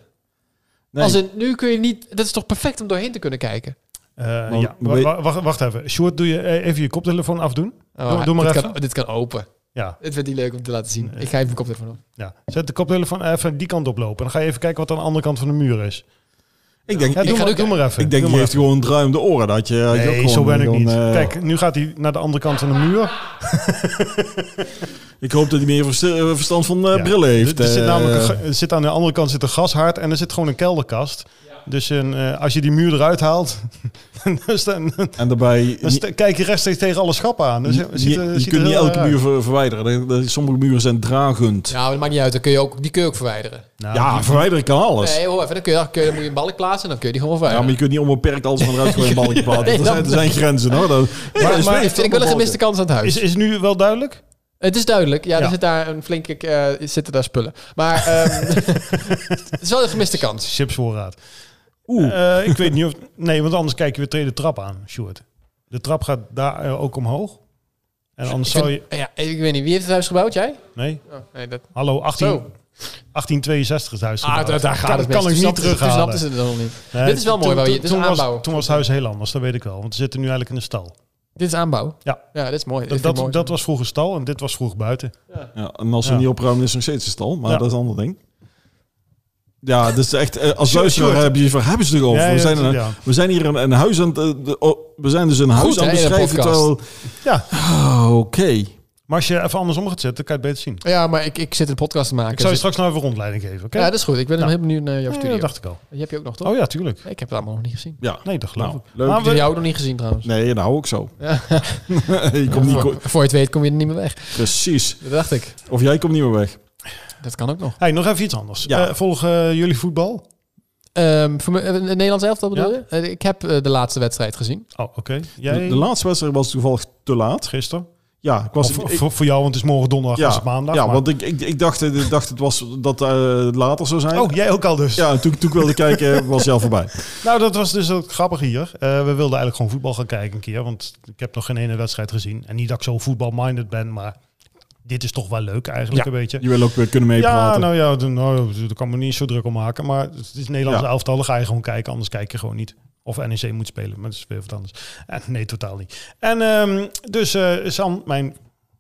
Speaker 1: Nee.
Speaker 2: Als in, nu kun je niet... Dat is toch perfect om doorheen te kunnen kijken?
Speaker 3: Eh,
Speaker 1: Maar-
Speaker 3: ja.
Speaker 1: maar weet-
Speaker 3: Wa- Wacht, wacht even. Sjoerd, doe je eh, even je koptelefoon afdoen?
Speaker 2: Oh,
Speaker 3: Doe- doe maar
Speaker 2: dit
Speaker 3: even.
Speaker 2: Kan, dit kan open.
Speaker 3: Ja.
Speaker 2: Dit vind ik leuk om te laten zien. Ik ga even mijn kop ervan op.
Speaker 3: ja. Zet de koptelefoon even die kant oplopen. En dan ga je even kijken wat aan de andere kant van de muur is.
Speaker 1: Ik denk,
Speaker 3: Ja,
Speaker 1: ik,
Speaker 3: doe,
Speaker 2: ga
Speaker 3: maar,
Speaker 2: ook-
Speaker 3: doe maar even.
Speaker 1: ik denk
Speaker 3: Doe
Speaker 1: je
Speaker 3: maar
Speaker 1: heeft
Speaker 3: even.
Speaker 1: gewoon druim de oren. Dat je, dat je ook
Speaker 3: Nee,
Speaker 1: gewoon,
Speaker 3: zo ben ik
Speaker 1: gewoon,
Speaker 3: niet.
Speaker 1: eh,
Speaker 3: Kijk, nu gaat hij naar de andere kant van de muur.
Speaker 1: Ik hoop dat hij meer verst- eh, verstand van eh,
Speaker 3: Ja.
Speaker 1: brillen heeft.
Speaker 3: Er, er zit
Speaker 1: eh,
Speaker 3: namelijk een ga- er zit aan de andere kant zit een gashaard en er zit gewoon een kelderkast. Dus een, eh, als je die muur eruit haalt, dan, sta- dan
Speaker 1: en daarbij,
Speaker 3: sta- kijk je rechtstreeks tegen alle schappen aan. Dus,
Speaker 1: Je,
Speaker 3: het ziet, er-
Speaker 1: je
Speaker 3: ziet er
Speaker 1: kunt niet
Speaker 3: heel
Speaker 1: elke
Speaker 3: raar
Speaker 1: muur
Speaker 3: uit.
Speaker 1: ver- verwijderen. Er- er- Sommige muren zijn dragend. Ja,
Speaker 2: Ja, maar Nou, dat maakt niet uit. Dan kun je ook, die kun je ook verwijderen.
Speaker 3: Nou,
Speaker 1: verwijderen kan alles.
Speaker 2: Nee, hoor even. Dan, kun je, dan, kun je, dan moet je een balk plaatsen en dan kun je die gewoon
Speaker 1: Ja, maar
Speaker 2: verwijderen.
Speaker 1: je kunt niet onbeperkt alles van eruit gooien in balken plaatsen.
Speaker 2: nee,
Speaker 1: er, zijn, er
Speaker 2: dat-
Speaker 1: zijn grenzen hoor. Dat,
Speaker 3: maar-
Speaker 1: dat is
Speaker 3: maar-
Speaker 1: mee,
Speaker 2: dat vind ik wel een gemiste kans aan het huis.
Speaker 3: Is, is nu wel duidelijk?
Speaker 2: het is duidelijk. Ja,
Speaker 3: Ja.
Speaker 2: er zit daar een flinke... eh zitten daar spullen. Maar ehm, het is wel een gemiste kans.
Speaker 3: Chipsvoorraad.
Speaker 1: Oeh,
Speaker 3: Eh, ik weet niet of... Nee, want anders kijk je weer tegen de trap aan, Sjoerd. De trap gaat daar eh, ook omhoog. En anders
Speaker 2: ik,
Speaker 3: zou je...
Speaker 2: vind- ja, ik weet niet. Wie heeft het huis gebouwd? Jij?
Speaker 3: Nee,
Speaker 2: Oh, nee, dat...
Speaker 3: hallo, 18,
Speaker 2: Zo.
Speaker 3: 1862 is het huis
Speaker 2: Ah,
Speaker 3: gebouwd.
Speaker 2: daar, daar gaat
Speaker 3: dat
Speaker 2: het mis.
Speaker 3: kan ik
Speaker 2: Toen
Speaker 3: niet
Speaker 2: snapten ze-
Speaker 3: terughalen.
Speaker 2: Toen snapten ze het nog niet.
Speaker 3: Nee,
Speaker 2: Dit is wel
Speaker 3: toen-
Speaker 2: mooi, waar je-
Speaker 3: toen-
Speaker 2: dit is
Speaker 3: toen was-
Speaker 2: aanbouwen.
Speaker 3: Toen was het huis heel anders, dat weet ik wel. Want we zitten nu eigenlijk in een stal.
Speaker 2: Dit is aanbouw.
Speaker 3: Ja.
Speaker 2: Ja, dit is mooi.
Speaker 3: Dat,
Speaker 2: Dit vind ik
Speaker 3: dat,
Speaker 2: mooi.
Speaker 3: dat was vroeger stal en dit was vroeg buiten.
Speaker 1: ja, en als ze
Speaker 3: Ja.
Speaker 1: niet opruimen is het nog steeds een stal. Maar
Speaker 3: Ja.
Speaker 1: dat is een ander ding. Ja, dat is echt... eh, Als
Speaker 3: Sjoerd,
Speaker 1: luisteraar
Speaker 3: Sjoerd.
Speaker 1: heb je van hebben ze erover.
Speaker 3: Ja, ja,
Speaker 1: Oh, we, zijn een,
Speaker 3: ja.
Speaker 1: we zijn hier een, een huis aan het... eh, de- oh, we zijn dus een huis aan
Speaker 2: hè,
Speaker 1: het
Speaker 2: de
Speaker 1: beschrijven.
Speaker 2: podcast.
Speaker 1: Terwijl...
Speaker 3: Ja.
Speaker 1: Ah, Oké.
Speaker 3: Maar als je even andersom gaat zetten, kan je het beter zien.
Speaker 2: Ja, maar ik, ik zit een podcast te maken.
Speaker 3: Ik zou
Speaker 2: dus
Speaker 3: je straks nou even een rondleiding geven, oké?
Speaker 2: ik- Ja, dat is goed. Ik ben
Speaker 3: Nou.
Speaker 2: heel benieuwd naar jouw
Speaker 3: Ja,
Speaker 2: studio.
Speaker 3: dat dacht ik al.
Speaker 2: Die heb je ook nog, toch?
Speaker 3: Oh ja, tuurlijk.
Speaker 2: Ik heb het allemaal nog niet gezien.
Speaker 1: Ja.
Speaker 3: Nee, dat geloof
Speaker 1: Nou,
Speaker 3: ik.
Speaker 1: leuk.
Speaker 3: Maar
Speaker 2: Ik heb
Speaker 3: we,
Speaker 2: jou nog niet gezien trouwens.
Speaker 1: Nee, nou ook zo.
Speaker 2: Ja.
Speaker 1: je komt niet,
Speaker 2: voor, voor je het weet kom je er niet meer weg.
Speaker 1: precies.
Speaker 2: Dat dacht ik.
Speaker 1: Of jij komt niet meer weg.
Speaker 2: Dat kan ook nog.
Speaker 3: hey, nog even iets anders.
Speaker 1: Ja.
Speaker 3: Eh, volgen eh, jullie voetbal?
Speaker 2: Ehm voor me, eh, een Nederlands elftal bedoel
Speaker 3: Ja.
Speaker 2: je? Eh, ik heb eh, de laatste wedstrijd gezien.
Speaker 3: Oh, oké.
Speaker 1: De,
Speaker 3: Jij?
Speaker 1: de laatste wedstrijd was toevallig te laat.
Speaker 3: Gisteren?
Speaker 1: Ja, ik was...
Speaker 3: Of- of
Speaker 1: ik-
Speaker 3: voor, voor jou, want het is morgen donderdag als het maandag.
Speaker 1: Ja,
Speaker 3: maar-
Speaker 1: want ik, ik, ik, dacht, ik dacht het was dat eh, het later zou zijn.
Speaker 3: Oh, jij ook al dus.
Speaker 1: Ja, en toen, toen ik wilde kijken, was hij al voorbij.
Speaker 3: Nou, dat was dus ook grappig hier. Eh, we wilden eigenlijk gewoon voetbal gaan kijken een keer. Want ik heb nog geen ene wedstrijd gezien. En niet dat ik zo voetbalminded ben, maar dit is toch wel leuk eigenlijk
Speaker 1: Ja.
Speaker 3: een beetje.
Speaker 1: Je wil ook weer kunnen
Speaker 3: Ja,
Speaker 1: meepraten.
Speaker 3: nou ja, d- nou, daar kan me niet zo druk om maken. Maar het is Nederlands
Speaker 1: Ja.
Speaker 3: elftal, dan ga je gewoon kijken. Anders kijk je gewoon niet. Of NEC moet spelen, maar dat is weer wat anders. Eh, nee, totaal niet. En ehm, dus eh, Sam, mijn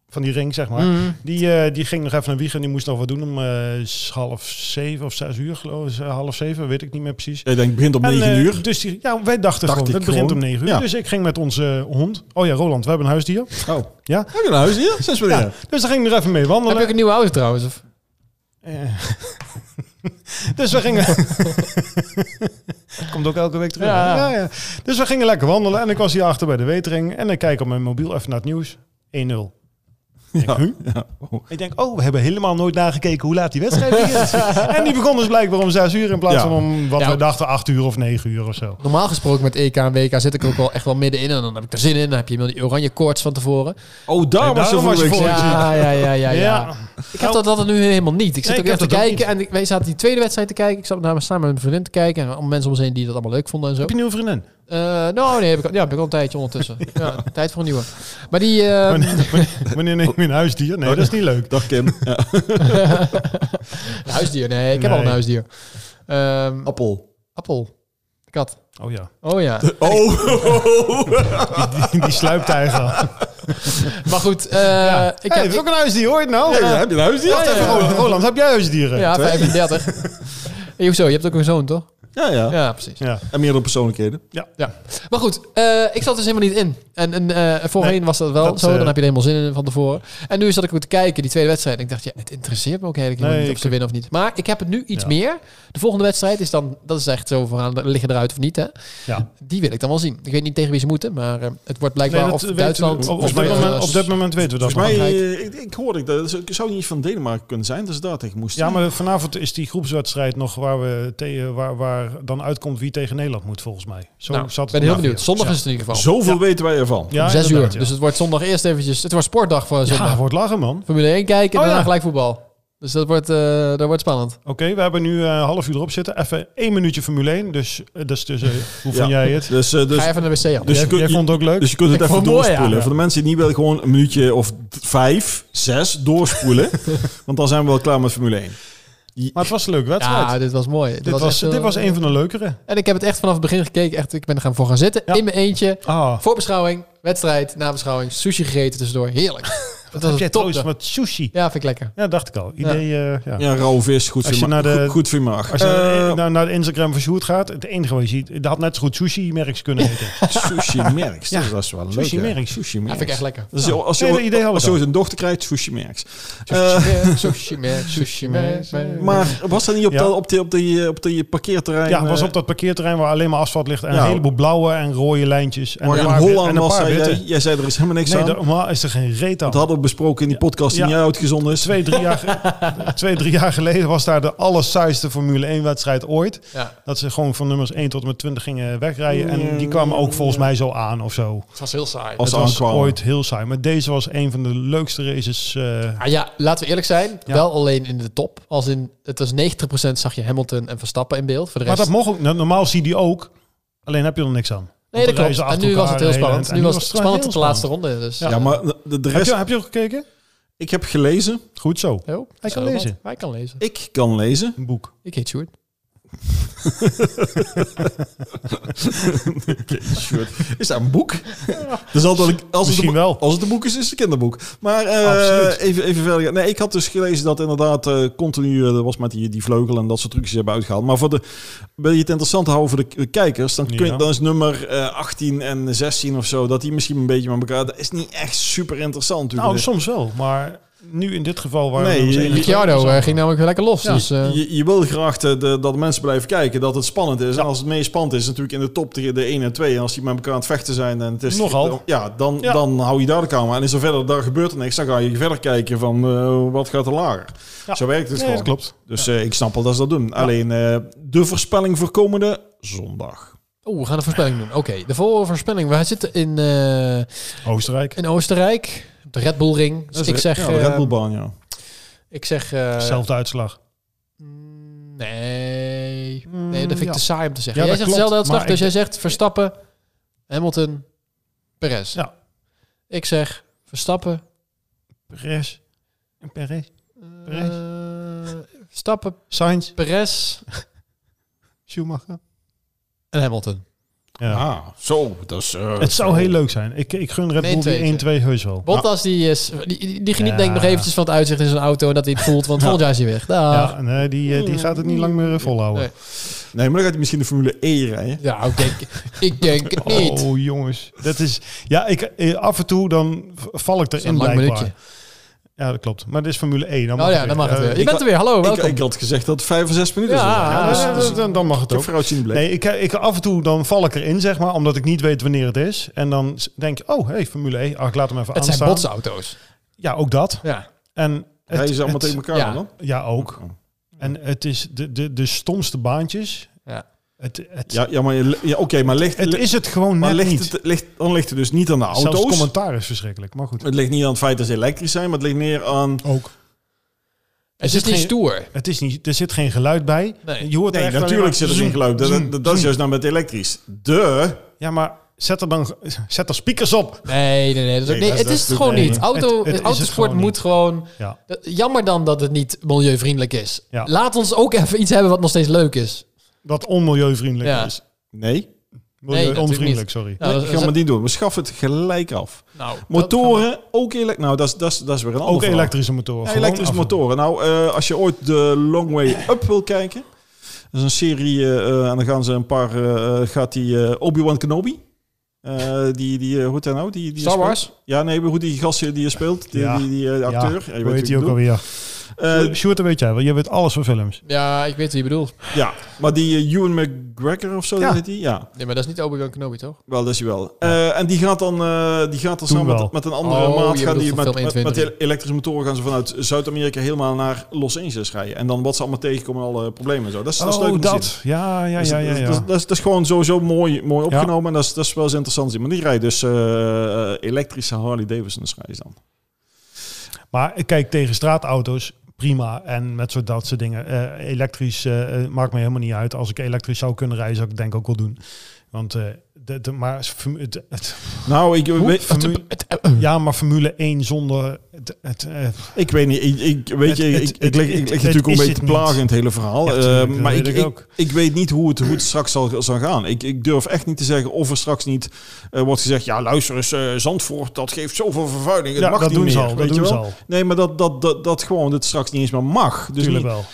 Speaker 3: van die ring, zeg maar.
Speaker 1: Mhm.
Speaker 2: Mm.
Speaker 3: Die, eh, die ging nog even naar Wiegen. Die moest nog wat doen om eh, s- half zeven of zes uur, geloof ik. eh, Half zeven, weet ik niet meer precies.
Speaker 1: Jij denkt, het begint om
Speaker 3: En,
Speaker 1: 9
Speaker 3: eh,
Speaker 1: uur.
Speaker 3: Dus die, ja, wij dachten
Speaker 1: Dacht
Speaker 3: gewoon,
Speaker 1: ik
Speaker 3: het begint om
Speaker 1: gewoon.
Speaker 3: 9 uur.
Speaker 1: Ja.
Speaker 3: Dus ik ging met onze hond. Oh ja, Roland, we hebben een huisdier.
Speaker 1: Oh.
Speaker 3: Ja.
Speaker 1: Heb je een huis hier? Zes meneer.
Speaker 3: Ja. Dus daar ging ik er even mee
Speaker 2: Heb je
Speaker 3: wandelen.
Speaker 2: ook een nieuwe auto trouwens? Of?
Speaker 3: Eh, Dus we gingen. Komt ook elke week terug. hè?
Speaker 2: Ja.
Speaker 3: Ja, ja. Dus we gingen lekker wandelen en ik was hier achter bij de Wetering en ik kijk op mijn mobiel even naar het nieuws. 1-0.
Speaker 1: Ja.
Speaker 3: Huh?
Speaker 1: Ja. Oh.
Speaker 3: Ik denk, oh, we hebben helemaal nooit nagekeken hoe laat die wedstrijd is. en die begon dus blijkbaar om zes uur in plaats
Speaker 1: Ja.
Speaker 3: van om wat
Speaker 2: Ja.
Speaker 3: we dachten acht uur of negen uur of zo.
Speaker 2: Normaal gesproken met EK en WK zit ik er ook wel echt wel middenin. En dan heb ik er zin in. Dan heb je helemaal die oranje koorts van tevoren.
Speaker 1: Oh, daar
Speaker 3: Nee,
Speaker 1: was je
Speaker 3: daarom was je
Speaker 1: vorige week.
Speaker 3: voor.
Speaker 2: Ja, ja, ja, ja. ja. Ik heb dat, dat nu helemaal niet. Ik zit
Speaker 3: Nee,
Speaker 2: ook
Speaker 3: ik
Speaker 2: echt te
Speaker 3: heb dat ook
Speaker 2: kijken. En ik, wij zaten die tweede wedstrijd te kijken. Ik zat naar, samen met mijn vriendin te kijken. En allemaal mensen om ons heen die dat allemaal leuk vonden en zo.
Speaker 3: Heb je een nieuwe vriendin?
Speaker 2: Eh, nou, nee, heb ik, al- ja, heb ik al een tijdje ondertussen. ja. tijd voor een nieuwe. Maar die...
Speaker 3: Oh,
Speaker 2: eh,
Speaker 3: Wanneer neem je een huisdier? Nee,
Speaker 1: Oh,
Speaker 3: dat is niet leuk.
Speaker 1: Dag Kim. Ja.
Speaker 2: een huisdier, nee. Ik heb
Speaker 3: Nee.
Speaker 2: al een huisdier. Ehm,
Speaker 1: Appel.
Speaker 2: appel. De kat.
Speaker 3: Oh ja,
Speaker 2: Oh ja.
Speaker 1: Oh.
Speaker 3: die, die sluiptijger.
Speaker 2: Maar goed, eh, ik
Speaker 3: Hey,
Speaker 2: heb...
Speaker 3: dat is ook een huisdier, hoor je het nou?
Speaker 1: Heb je een huisdier?
Speaker 3: Wacht even,
Speaker 2: ja.
Speaker 3: Roland. Roland, heb jij huisdieren?
Speaker 2: ja, 35. Hey, hoezo? Je hebt ook een zoon, toch?
Speaker 1: Ja, ja.
Speaker 2: Ja, precies.
Speaker 3: Ja.
Speaker 1: En meerdere persoonlijkheden.
Speaker 2: Ja, maar goed, eh, ik zat dus helemaal niet in. En, en eh, voorheen was dat wel
Speaker 3: dat,
Speaker 2: zo,
Speaker 3: eh,
Speaker 2: dan heb je er helemaal zin in van tevoren. En nu zat ik ook te kijken, die tweede wedstrijd. En ik dacht, ja, het interesseert me ook eigenlijk helemaal
Speaker 3: Nee,
Speaker 2: niet of
Speaker 3: ik-
Speaker 2: ze winnen of niet. Maar ik heb het nu iets
Speaker 3: Ja.
Speaker 2: meer. De volgende wedstrijd is dan, dat is echt zo vooraan, liggen eruit of niet, hè.
Speaker 3: Ja.
Speaker 2: Die wil ik dan wel zien. Ik weet niet tegen wie ze moeten, maar eh, het wordt
Speaker 3: Nee,
Speaker 2: blijkbaar
Speaker 3: dat
Speaker 2: of
Speaker 3: weten we-
Speaker 2: Duitsland...
Speaker 3: op,
Speaker 2: of
Speaker 3: op, dit
Speaker 2: Nederland.
Speaker 3: moment, op dit moment weten we dat.
Speaker 1: Volgens
Speaker 3: nog.
Speaker 1: mij,
Speaker 2: Frankrijk.
Speaker 1: eh, ik, ik hoorde ik dat. Het zou niet iets van Denemarken kunnen zijn dat ze daar tegen moesten.
Speaker 3: Ja, maar vanavond is die groepswedstrijd nog waar, we tegen waar, waar dan uitkomt wie tegen Nederland moet, volgens mij. Zo
Speaker 2: Nou,
Speaker 3: zat
Speaker 2: ik ben heel
Speaker 3: ongeveer.
Speaker 2: benieuwd. Zondag
Speaker 3: Ja.
Speaker 2: is het in ieder geval.
Speaker 1: Zoveel weten wij ervan.
Speaker 3: Ja,
Speaker 2: Om zes uur.
Speaker 3: inderdaad, ja.
Speaker 2: Dus het wordt zondag eerst eventjes... Het wordt sportdag voor zondag.
Speaker 3: Ja, wordt lachen, man.
Speaker 2: Formule 1 kijken en
Speaker 3: Oh,
Speaker 2: daarna
Speaker 3: ja.
Speaker 2: gelijk voetbal. Dus dat wordt, eh, dat wordt spannend.
Speaker 3: Oké, we hebben nu eh, een half uur erop zitten. Even één minuutje Formule 1. Dus eh, dat is dus, eh, hoe vond jij het?
Speaker 1: Dus, eh,
Speaker 2: Ga
Speaker 1: dus,
Speaker 2: even naar de wc aan.
Speaker 1: dus
Speaker 3: jij,
Speaker 1: je kunt-
Speaker 3: jij
Speaker 1: je-
Speaker 3: vond het ook leuk?
Speaker 1: dus je kunt het
Speaker 2: Ik
Speaker 1: even
Speaker 2: vond het mooi, ja.
Speaker 1: doorspoelen. Voor de mensen die niet willen, gewoon een minuutje of d- vijf, zes doorspoelen. Want dan zijn we wel klaar met Formule 1.
Speaker 3: maar het was een leuke wedstrijd.
Speaker 2: Ja, dit was mooi.
Speaker 3: dit, was,
Speaker 2: echt,
Speaker 3: dit was
Speaker 2: eh,
Speaker 3: een van de leukere.
Speaker 2: En ik heb het echt vanaf het begin gekeken. Echt, ik ben er gaan voor gaan zitten.
Speaker 3: Ja.
Speaker 2: In mijn eentje.
Speaker 3: Ah,
Speaker 2: Voorbeschouwing, wedstrijd, nabeschouwing. Sushi gegeten tussendoor. Heerlijk. Dat was
Speaker 3: heb jij
Speaker 2: een top.
Speaker 3: trouwens met sushi?
Speaker 2: Ja, vind ik lekker.
Speaker 3: Ja, dacht ik al. Idee, eh, ja.
Speaker 1: Ja, rauwe vis, goed
Speaker 3: Als je
Speaker 1: voor je ma-
Speaker 3: naar de-
Speaker 1: goed- Goed voor je maag.
Speaker 3: Als je
Speaker 1: Eh,
Speaker 3: naar- naar, naar de Instagram van Sjoerd gaat, het enige wat je ziet, dat had net zo goed sushi-merks kunnen heten.
Speaker 1: Sushi Merks.
Speaker 3: Ja.
Speaker 1: Dat is wel leuk.
Speaker 3: Sushi
Speaker 1: hè?
Speaker 3: Merks.
Speaker 1: Sushi
Speaker 2: Dat
Speaker 1: Merks.
Speaker 2: vind ik echt lekker.
Speaker 1: Dus als je,
Speaker 3: Nee, dat idee had ik
Speaker 1: als je
Speaker 3: al.
Speaker 1: ooit een dochter krijgt, sushi merks. Eh,
Speaker 2: Sushi meer, sushi meer, sushi meer.
Speaker 1: maar was dat niet op,
Speaker 3: Ja.
Speaker 1: dat, op, die, op, die, eh, op die parkeerterrein?
Speaker 3: Ja, het was
Speaker 1: eh,
Speaker 3: op dat parkeerterrein waar alleen maar asfalt ligt en
Speaker 1: Ja.
Speaker 3: een heleboel blauwe en rode lijntjes. En
Speaker 1: waar
Speaker 3: een
Speaker 1: in
Speaker 3: paar wit-
Speaker 1: Holland
Speaker 3: en een
Speaker 1: was,
Speaker 3: paar
Speaker 1: zei jij,
Speaker 3: witte.
Speaker 1: jij zei er is helemaal niks
Speaker 3: Nee,
Speaker 1: aan.
Speaker 3: normaal is er geen reet aan.
Speaker 1: Dat hadden we besproken in die podcast die
Speaker 3: Ja.
Speaker 1: niet uitgezonden is.
Speaker 3: Twee drie, jaar, ge- twee, drie jaar geleden was daar de allersaaiste Formule 1-wedstrijd ooit.
Speaker 2: Ja,
Speaker 3: Dat ze gewoon van nummers 1 tot en met 20 gingen wegrijden. En die
Speaker 1: Mm.
Speaker 3: kwamen ook volgens mij zo aan of zo.
Speaker 2: het was heel saai.
Speaker 1: Als
Speaker 3: het was
Speaker 1: aankwamen.
Speaker 3: ooit heel saai. Maar deze was een van de leukste races. eh,
Speaker 2: Ah ja, laten we eerlijk zijn.
Speaker 3: Ja.
Speaker 2: Wel alleen in de top. Als in, het was 90% zag je Hamilton en Verstappen in beeld. Voor de
Speaker 3: maar
Speaker 2: rest...
Speaker 3: dat mocht ook. Nou, normaal zie je die ook. Alleen heb je er niks aan.
Speaker 2: nee, dat
Speaker 3: Want
Speaker 2: klopt.
Speaker 3: de
Speaker 2: En
Speaker 3: reizen
Speaker 2: nu
Speaker 3: achter
Speaker 2: was het heel
Speaker 3: elkaar,
Speaker 2: spannend.
Speaker 3: en
Speaker 2: nu was
Speaker 3: heel
Speaker 2: het spannend tot de laatste
Speaker 3: spannend.
Speaker 2: ronde. Dus,
Speaker 1: Ja, maar de, de rest...
Speaker 3: Heb je, heb je ook gekeken?
Speaker 1: Ik heb gelezen.
Speaker 3: Goed zo.
Speaker 2: Yo,
Speaker 3: Hij
Speaker 2: zo
Speaker 3: kan
Speaker 2: wat.
Speaker 3: lezen.
Speaker 2: Hij kan lezen.
Speaker 1: Ik kan lezen.
Speaker 3: Een boek.
Speaker 2: Ik heet Sjoerd.
Speaker 1: Is dat een boek? Dus altijd, als, het
Speaker 3: Misschien
Speaker 1: een,
Speaker 3: wel.
Speaker 1: als het een boek is, is het een kinderboek. Maar eh,
Speaker 3: Absoluut.
Speaker 1: even, even verder. Nee, ik had dus gelezen dat inderdaad eh, continu, eh, dat was met die, die vleugel en dat soort trucjes hebben uitgehaald. Maar voor de, wil je het interessant houden voor de, de kijkers, dan, kun je,
Speaker 3: Ja.
Speaker 1: dan is nummer eh, 18 en 16 of zo, dat die misschien een beetje met elkaar, dat is niet echt super interessant natuurlijk.
Speaker 3: Nou, soms wel, maar nu in dit geval waar
Speaker 1: Nee,
Speaker 3: we ons
Speaker 1: je-
Speaker 3: enige-
Speaker 2: Ricciardo eh, ging namelijk weer lekker los.
Speaker 3: Ja.
Speaker 2: Dus, eh,
Speaker 1: je, je wil graag de, de- dat mensen blijven kijken, dat het spannend is. En als het meest spannend is, natuurlijk in de top de, de 1 en 2. En als die met elkaar aan het vechten zijn en het is...
Speaker 3: Nogal.
Speaker 1: Ja, dan,
Speaker 3: Ja.
Speaker 1: dan hou je daar de camera. En in zoverre daar gebeurt er niks, dan ga je verder kijken van eh, wat gaat er lager.
Speaker 3: Ja.
Speaker 1: Zo werkt het
Speaker 3: Nee,
Speaker 1: gewoon.
Speaker 3: dat klopt.
Speaker 1: Dus eh, ik snap al dat ze dat doen. Alleen eh, de voorspelling voor komende zondag.
Speaker 2: Oeh, we gaan een voorspelling doen. Oké, de volgende voorspelling. We zitten in, eh,
Speaker 3: Oostenrijk.
Speaker 2: in Oostenrijk. Op de Red Bull Ring. Dus
Speaker 1: Dat is
Speaker 2: ik
Speaker 1: de-
Speaker 2: zeg...
Speaker 1: ja, de
Speaker 2: eh,
Speaker 1: Red Bull baan, ja.
Speaker 2: ik zeg... eh,
Speaker 3: Zelfde uitslag.
Speaker 2: mm, Nee. Nee, dat vind ik
Speaker 3: Mm, ja.
Speaker 2: te saai om te zeggen.
Speaker 3: Ja,
Speaker 2: jij
Speaker 3: dat
Speaker 2: zegt hetzelfde
Speaker 3: klopt,
Speaker 2: als dag,
Speaker 3: maar
Speaker 2: dus
Speaker 3: ik-
Speaker 2: jij zegt Verstappen, Hamilton, Perez.
Speaker 3: Ja.
Speaker 2: Ik zeg Verstappen,
Speaker 3: Perez. En Perez. Perez.
Speaker 2: eh, Verstappen,
Speaker 3: Sainz.
Speaker 2: Perez
Speaker 3: Schumacher.
Speaker 2: en Hamilton.
Speaker 3: Ja.
Speaker 1: Ah, zo. Dat is, eh,
Speaker 3: het zou heel leuk zijn. Ik, ik gun Red
Speaker 2: Nee,
Speaker 3: Bull
Speaker 2: twee,
Speaker 3: die 1-2 heus wel.
Speaker 2: Bottas die, is, die, die die geniet
Speaker 3: Ja.
Speaker 2: denk ik nog eventjes van het uitzicht in zijn auto en dat hij het voelt, want volgend jaar is hij weg. Dag.
Speaker 3: Ja, nee, die,
Speaker 2: Mm.
Speaker 3: eh, die gaat het niet lang meer eh, volhouden.
Speaker 2: Nee.
Speaker 1: Nee, maar dan gaat hij misschien de Formule E rijden.
Speaker 2: Ja, ik denk, ik denk het niet.
Speaker 3: Oh jongens, dat is ja. Ik eh, af en toe dan v- val ik
Speaker 2: Dat is
Speaker 3: erin
Speaker 2: een lang
Speaker 3: blijkbaar.
Speaker 2: minuutje.
Speaker 3: Ja, dat klopt. Maar dit is Formule 1. Dan mag
Speaker 2: oh ja,
Speaker 3: het
Speaker 2: dan mag het
Speaker 3: Eh,
Speaker 2: weer. Je
Speaker 1: ik
Speaker 2: bent er weer, hallo,
Speaker 1: Ik,
Speaker 2: welkom.
Speaker 1: ik had gezegd dat het vijf of zes minuten
Speaker 2: Ja,
Speaker 1: zou zijn.
Speaker 2: ja,
Speaker 1: dus-
Speaker 3: ja,
Speaker 1: dus-
Speaker 3: dan- dan, dan mag het
Speaker 1: Ik heb
Speaker 3: ook.
Speaker 1: vrouwtje niet bleek.
Speaker 3: Nee, ik, ik, af en toe dan val ik erin, zeg maar, omdat ik niet weet wanneer het is. En dan s- denk je, oh, hey, Formule 1, ach, ik laat hem even
Speaker 2: het zijn
Speaker 3: aanstaan.
Speaker 2: botsauto's.
Speaker 3: Ja, ook dat.
Speaker 2: Ja.
Speaker 3: En het,
Speaker 1: Rijden ze allemaal
Speaker 3: het-
Speaker 1: tegen elkaar
Speaker 2: ja.
Speaker 1: dan?
Speaker 3: Ja, ook. En het is de, de, de stomste baantjes.
Speaker 2: Ja.
Speaker 3: Het, het,
Speaker 1: Ja, ja, maar je- ja, oké, maar ligt,
Speaker 3: het is het gewoon
Speaker 1: maar
Speaker 3: net
Speaker 1: ligt,
Speaker 3: niet.
Speaker 1: het, ligt, dan ligt het dus niet aan de
Speaker 3: Zelfs
Speaker 1: auto's.
Speaker 3: commentaar is verschrikkelijk, maar goed.
Speaker 1: Het ligt niet aan het feit dat ze elektrisch zijn, maar het ligt meer aan...
Speaker 3: Ook.
Speaker 2: Het
Speaker 3: zit
Speaker 2: is niet
Speaker 3: geen-
Speaker 2: stoer.
Speaker 3: Het is niet, er zit geen geluid bij.
Speaker 2: Nee.
Speaker 3: Je hoort er
Speaker 1: Nee,
Speaker 3: echt alleen
Speaker 1: natuurlijk
Speaker 3: maar
Speaker 1: zit er
Speaker 3: zoem,
Speaker 1: geen geluid. Dat,
Speaker 3: zoem,
Speaker 1: dat, dat is
Speaker 3: zoem.
Speaker 1: juist nou met elektrisch. De...
Speaker 3: Ja, maar zet er dan zet er speakers op.
Speaker 2: Nee, nee, nee. Dat is
Speaker 1: Nee,
Speaker 2: ook, nee
Speaker 1: dat-
Speaker 2: het
Speaker 1: dat
Speaker 2: is
Speaker 1: is
Speaker 2: het gewoon
Speaker 1: nee,
Speaker 2: niet.
Speaker 1: nee.
Speaker 2: Auto,
Speaker 3: Het- het is
Speaker 2: autosport
Speaker 3: het gewoon
Speaker 2: moet
Speaker 3: niet.
Speaker 2: gewoon...
Speaker 3: Ja.
Speaker 2: Jammer dan dat het niet milieuvriendelijk is.
Speaker 3: Ja.
Speaker 2: Laat ons ook even iets hebben wat nog steeds leuk is.
Speaker 3: Dat onmilieuvriendelijk
Speaker 2: Ja.
Speaker 3: is.
Speaker 1: Nee,
Speaker 3: Milieu
Speaker 2: natuurlijk
Speaker 3: onvriendelijk,
Speaker 2: niet.
Speaker 3: sorry.
Speaker 2: Nou, dat-
Speaker 1: dat gaan we niet doen. We schaffen het gelijk af.
Speaker 2: nou, dat-
Speaker 1: Motoren, ook elektrisch. Nou, dat is, dat, is, dat is weer een ander
Speaker 3: Ook
Speaker 1: verhaal.
Speaker 3: elektrische motoren.
Speaker 1: Ja,
Speaker 3: gewoon
Speaker 1: elektrische
Speaker 3: af-
Speaker 1: motoren. Nou, eh, als je ooit de Long Way Up wil kijken, dat is een serie eh, eh, en dan gaan ze een paar eh, gaat die eh, Obi-Wan Kenobi. Eh, die, die, eh, hoe heet hij nou? Die, die
Speaker 2: Star
Speaker 1: speelt-
Speaker 2: Wars?
Speaker 1: Ja, nee, maar hoe die gast die je speelt, die,
Speaker 3: Ja.
Speaker 1: die, die, eh,
Speaker 3: Ja,
Speaker 1: acteur. Ja, je
Speaker 3: Hoe
Speaker 1: weet
Speaker 3: heet
Speaker 1: wie
Speaker 3: die ook
Speaker 1: ik
Speaker 3: alweer?
Speaker 1: bedoel.
Speaker 3: Eh, Sjoerd, dat weet jij wel. Je weet alles van films.
Speaker 2: Ja, ik weet wie je bedoelt.
Speaker 1: Eh, ja, maar die eh, Ewan McGregor of zo,
Speaker 3: Ja.
Speaker 1: dat heet die? Ja,
Speaker 2: Nee, maar dat is niet Obi-Wan Kenobi, toch?
Speaker 1: wel, dat is hij wel. Eh, en die gaat dan, eh, die gaat dan
Speaker 3: Toen
Speaker 1: samen
Speaker 3: wel.
Speaker 1: met, met een andere
Speaker 2: Oh,
Speaker 1: maat,
Speaker 2: je
Speaker 1: gaan
Speaker 2: bedoelt
Speaker 1: die
Speaker 2: van
Speaker 1: met,
Speaker 2: film 1,
Speaker 1: met,
Speaker 2: 2,
Speaker 1: met
Speaker 2: 3.
Speaker 1: de elektrische motoren gaan ze vanuit Zuid-Amerika helemaal naar Los Angeles rijden. En dan wat ze allemaal tegenkomen, alle problemen en zo. Dat is, dat is leuk om
Speaker 3: Oh,
Speaker 1: te zien.
Speaker 3: dat. Ja, ja,
Speaker 1: Dus
Speaker 3: ja, ja.
Speaker 1: dat-
Speaker 3: ja.
Speaker 1: Dat, dat is, dat is gewoon sowieso mooi, mooi
Speaker 3: Ja.
Speaker 1: opgenomen. En dat is, dat is wel eens interessant te zien. Maar die rijdt dus eh, eh, elektrische Harley Davidson's rijden ze dan.
Speaker 3: Maar ik kijk tegen straatauto's. Prima. En met zo dat soort dingen. Eh, elektrisch eh, eh, maakt me helemaal niet uit. Als ik elektrisch zou kunnen rijden, zou ik het denk ik ook wel doen. Want, eh, de, de, maar vermu- het, het-
Speaker 1: Nou, ik, weet,
Speaker 3: vermu- ja, maar Formule 1 zonder... Het, het, eh,
Speaker 1: ik weet niet. Ik, ik, weet
Speaker 3: Het-
Speaker 1: je,
Speaker 3: het-
Speaker 1: ik, ik leg, ik
Speaker 3: het-
Speaker 1: leg je
Speaker 3: het
Speaker 1: natuurlijk
Speaker 3: is
Speaker 1: een beetje
Speaker 3: het
Speaker 1: te
Speaker 3: niet.
Speaker 1: plagen in het hele verhaal.
Speaker 3: Ja,
Speaker 1: Eh,
Speaker 3: tuurlijk, dat
Speaker 1: maar
Speaker 3: weet
Speaker 1: ik,
Speaker 3: ik
Speaker 1: ik,
Speaker 3: ook.
Speaker 1: ik weet niet hoe het, hoe het straks zal, zal gaan. Ik, ik durf echt niet te zeggen of er straks niet eh, wordt gezegd... Ja, luister eens, eh, Zandvoort, dat geeft zoveel vervuiling. Het
Speaker 3: ja,
Speaker 1: mag
Speaker 3: dat
Speaker 1: niet
Speaker 3: doen
Speaker 1: meer,
Speaker 3: ze al.
Speaker 1: weet
Speaker 3: Dat
Speaker 1: je
Speaker 3: doen ze
Speaker 1: wel?
Speaker 3: al.
Speaker 1: Nee, maar dat, dat, dat, dat gewoon het straks niet eens meer mag. Dus
Speaker 3: Tuurlijk
Speaker 1: niet,
Speaker 3: wel.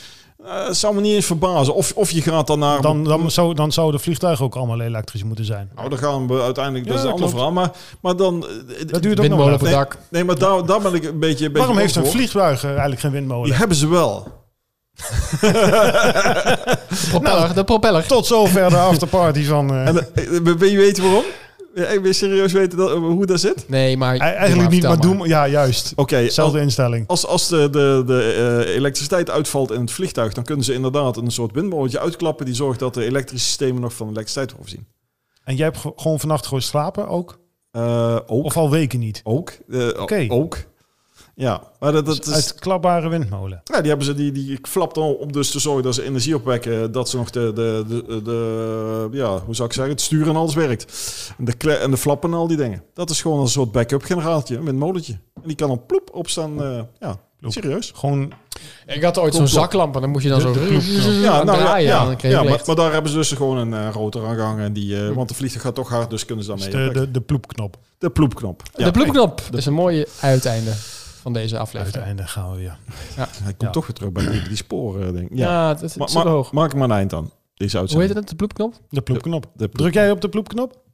Speaker 1: eh, het zou me niet eens verbazen. Of, of je gaat dan naar...
Speaker 3: Dan, dan, zou, dan zouden vliegtuigen ook allemaal elektrisch moeten zijn.
Speaker 1: Nou, dan gaan we uiteindelijk...
Speaker 3: Ja,
Speaker 1: dat is een
Speaker 3: dat
Speaker 1: ander
Speaker 3: klopt.
Speaker 1: verhaal. Maar, maar dan... eh,
Speaker 3: Dat duurt ook nog
Speaker 2: Windmolen
Speaker 3: wel
Speaker 2: op het
Speaker 3: even.
Speaker 1: Nee,
Speaker 2: dak.
Speaker 1: Nee, maar daar, daar ben ik een beetje... een beetje
Speaker 3: Waarom heeft
Speaker 1: bang
Speaker 3: een
Speaker 1: voor.
Speaker 3: vliegtuig eh, eigenlijk geen
Speaker 1: Die
Speaker 3: windmolen?
Speaker 1: hebben ze wel.
Speaker 2: De propeller,
Speaker 1: Nou.
Speaker 2: de propeller.
Speaker 3: Tot zover de afterparty van... eh,
Speaker 1: En eh, eh, wil je weten waarom? Ja, Ik wil serieus weten dat, eh, hoe dat zit?
Speaker 2: Nee, maar...
Speaker 3: Ei- e- Eigenlijk niet, maar doen. Ja, juist.
Speaker 1: Oké,
Speaker 3: Zelfde instelling.
Speaker 1: als, als de, de, de eh, elektriciteit uitvalt in het vliegtuig... dan kunnen ze inderdaad een soort windmolentje uitklappen... die zorgt dat de elektrische systemen nog van elektriciteit worden voorzien.
Speaker 3: En jij hebt ge- gewoon vannacht gewoon slapen ook?
Speaker 1: Eh, ook.
Speaker 3: Of al weken niet?
Speaker 1: Ook. eh,
Speaker 3: Oké.
Speaker 1: Ook. Ja, maar dat, dat
Speaker 3: Dus
Speaker 1: is...
Speaker 3: Uit klapbare windmolen.
Speaker 1: Ja, die hebben ze die, die flapt dan op dus te zorgen dat ze energie opwekken, dat ze nog de, de, de, de- ja, hoe zou ik zeggen, het sturen en alles werkt. En de, kle- en de flappen en al die dingen. Dat is gewoon een soort backup generatie, een windmolentje. En die kan dan ploep opstaan, eh, ja,
Speaker 3: Ploep.
Speaker 1: serieus.
Speaker 3: Gewoon,
Speaker 2: Ik had ooit zo'n
Speaker 1: Klopt, klopt.
Speaker 2: zaklamp en dan moest je dan zo...
Speaker 1: Ja, nou, ja,
Speaker 2: draaien,
Speaker 1: ja,
Speaker 2: Mm, dan kreeg je
Speaker 1: ja, maar,
Speaker 2: licht. Mm.
Speaker 1: maar daar hebben ze dus gewoon een eh, rotor aan gehangen. En die, eh, want de vliegtuig gaat toch hard, dus kunnen ze daarmee.
Speaker 3: de,
Speaker 1: opwekken.
Speaker 3: de, de ploepknop.
Speaker 1: de, ploepknop. Ja,
Speaker 2: de bloemknop is een mooie uiteinde van deze aflevering.
Speaker 3: Uiteindelijk gaan we weer.
Speaker 1: Hij komt
Speaker 3: Ja.
Speaker 1: toch weer terug bij die, die sporen, denk ik. Ja.
Speaker 2: Ja, het, het, het
Speaker 1: Ma-
Speaker 2: is wel
Speaker 1: ma-
Speaker 2: hoog.
Speaker 1: maak er maar een eind aan, deze
Speaker 2: Hoe heet
Speaker 1: uitzending.
Speaker 2: het, de bloemknop?
Speaker 3: De ploepknop.
Speaker 1: De ploep-
Speaker 3: Druk jij op de ploepknop?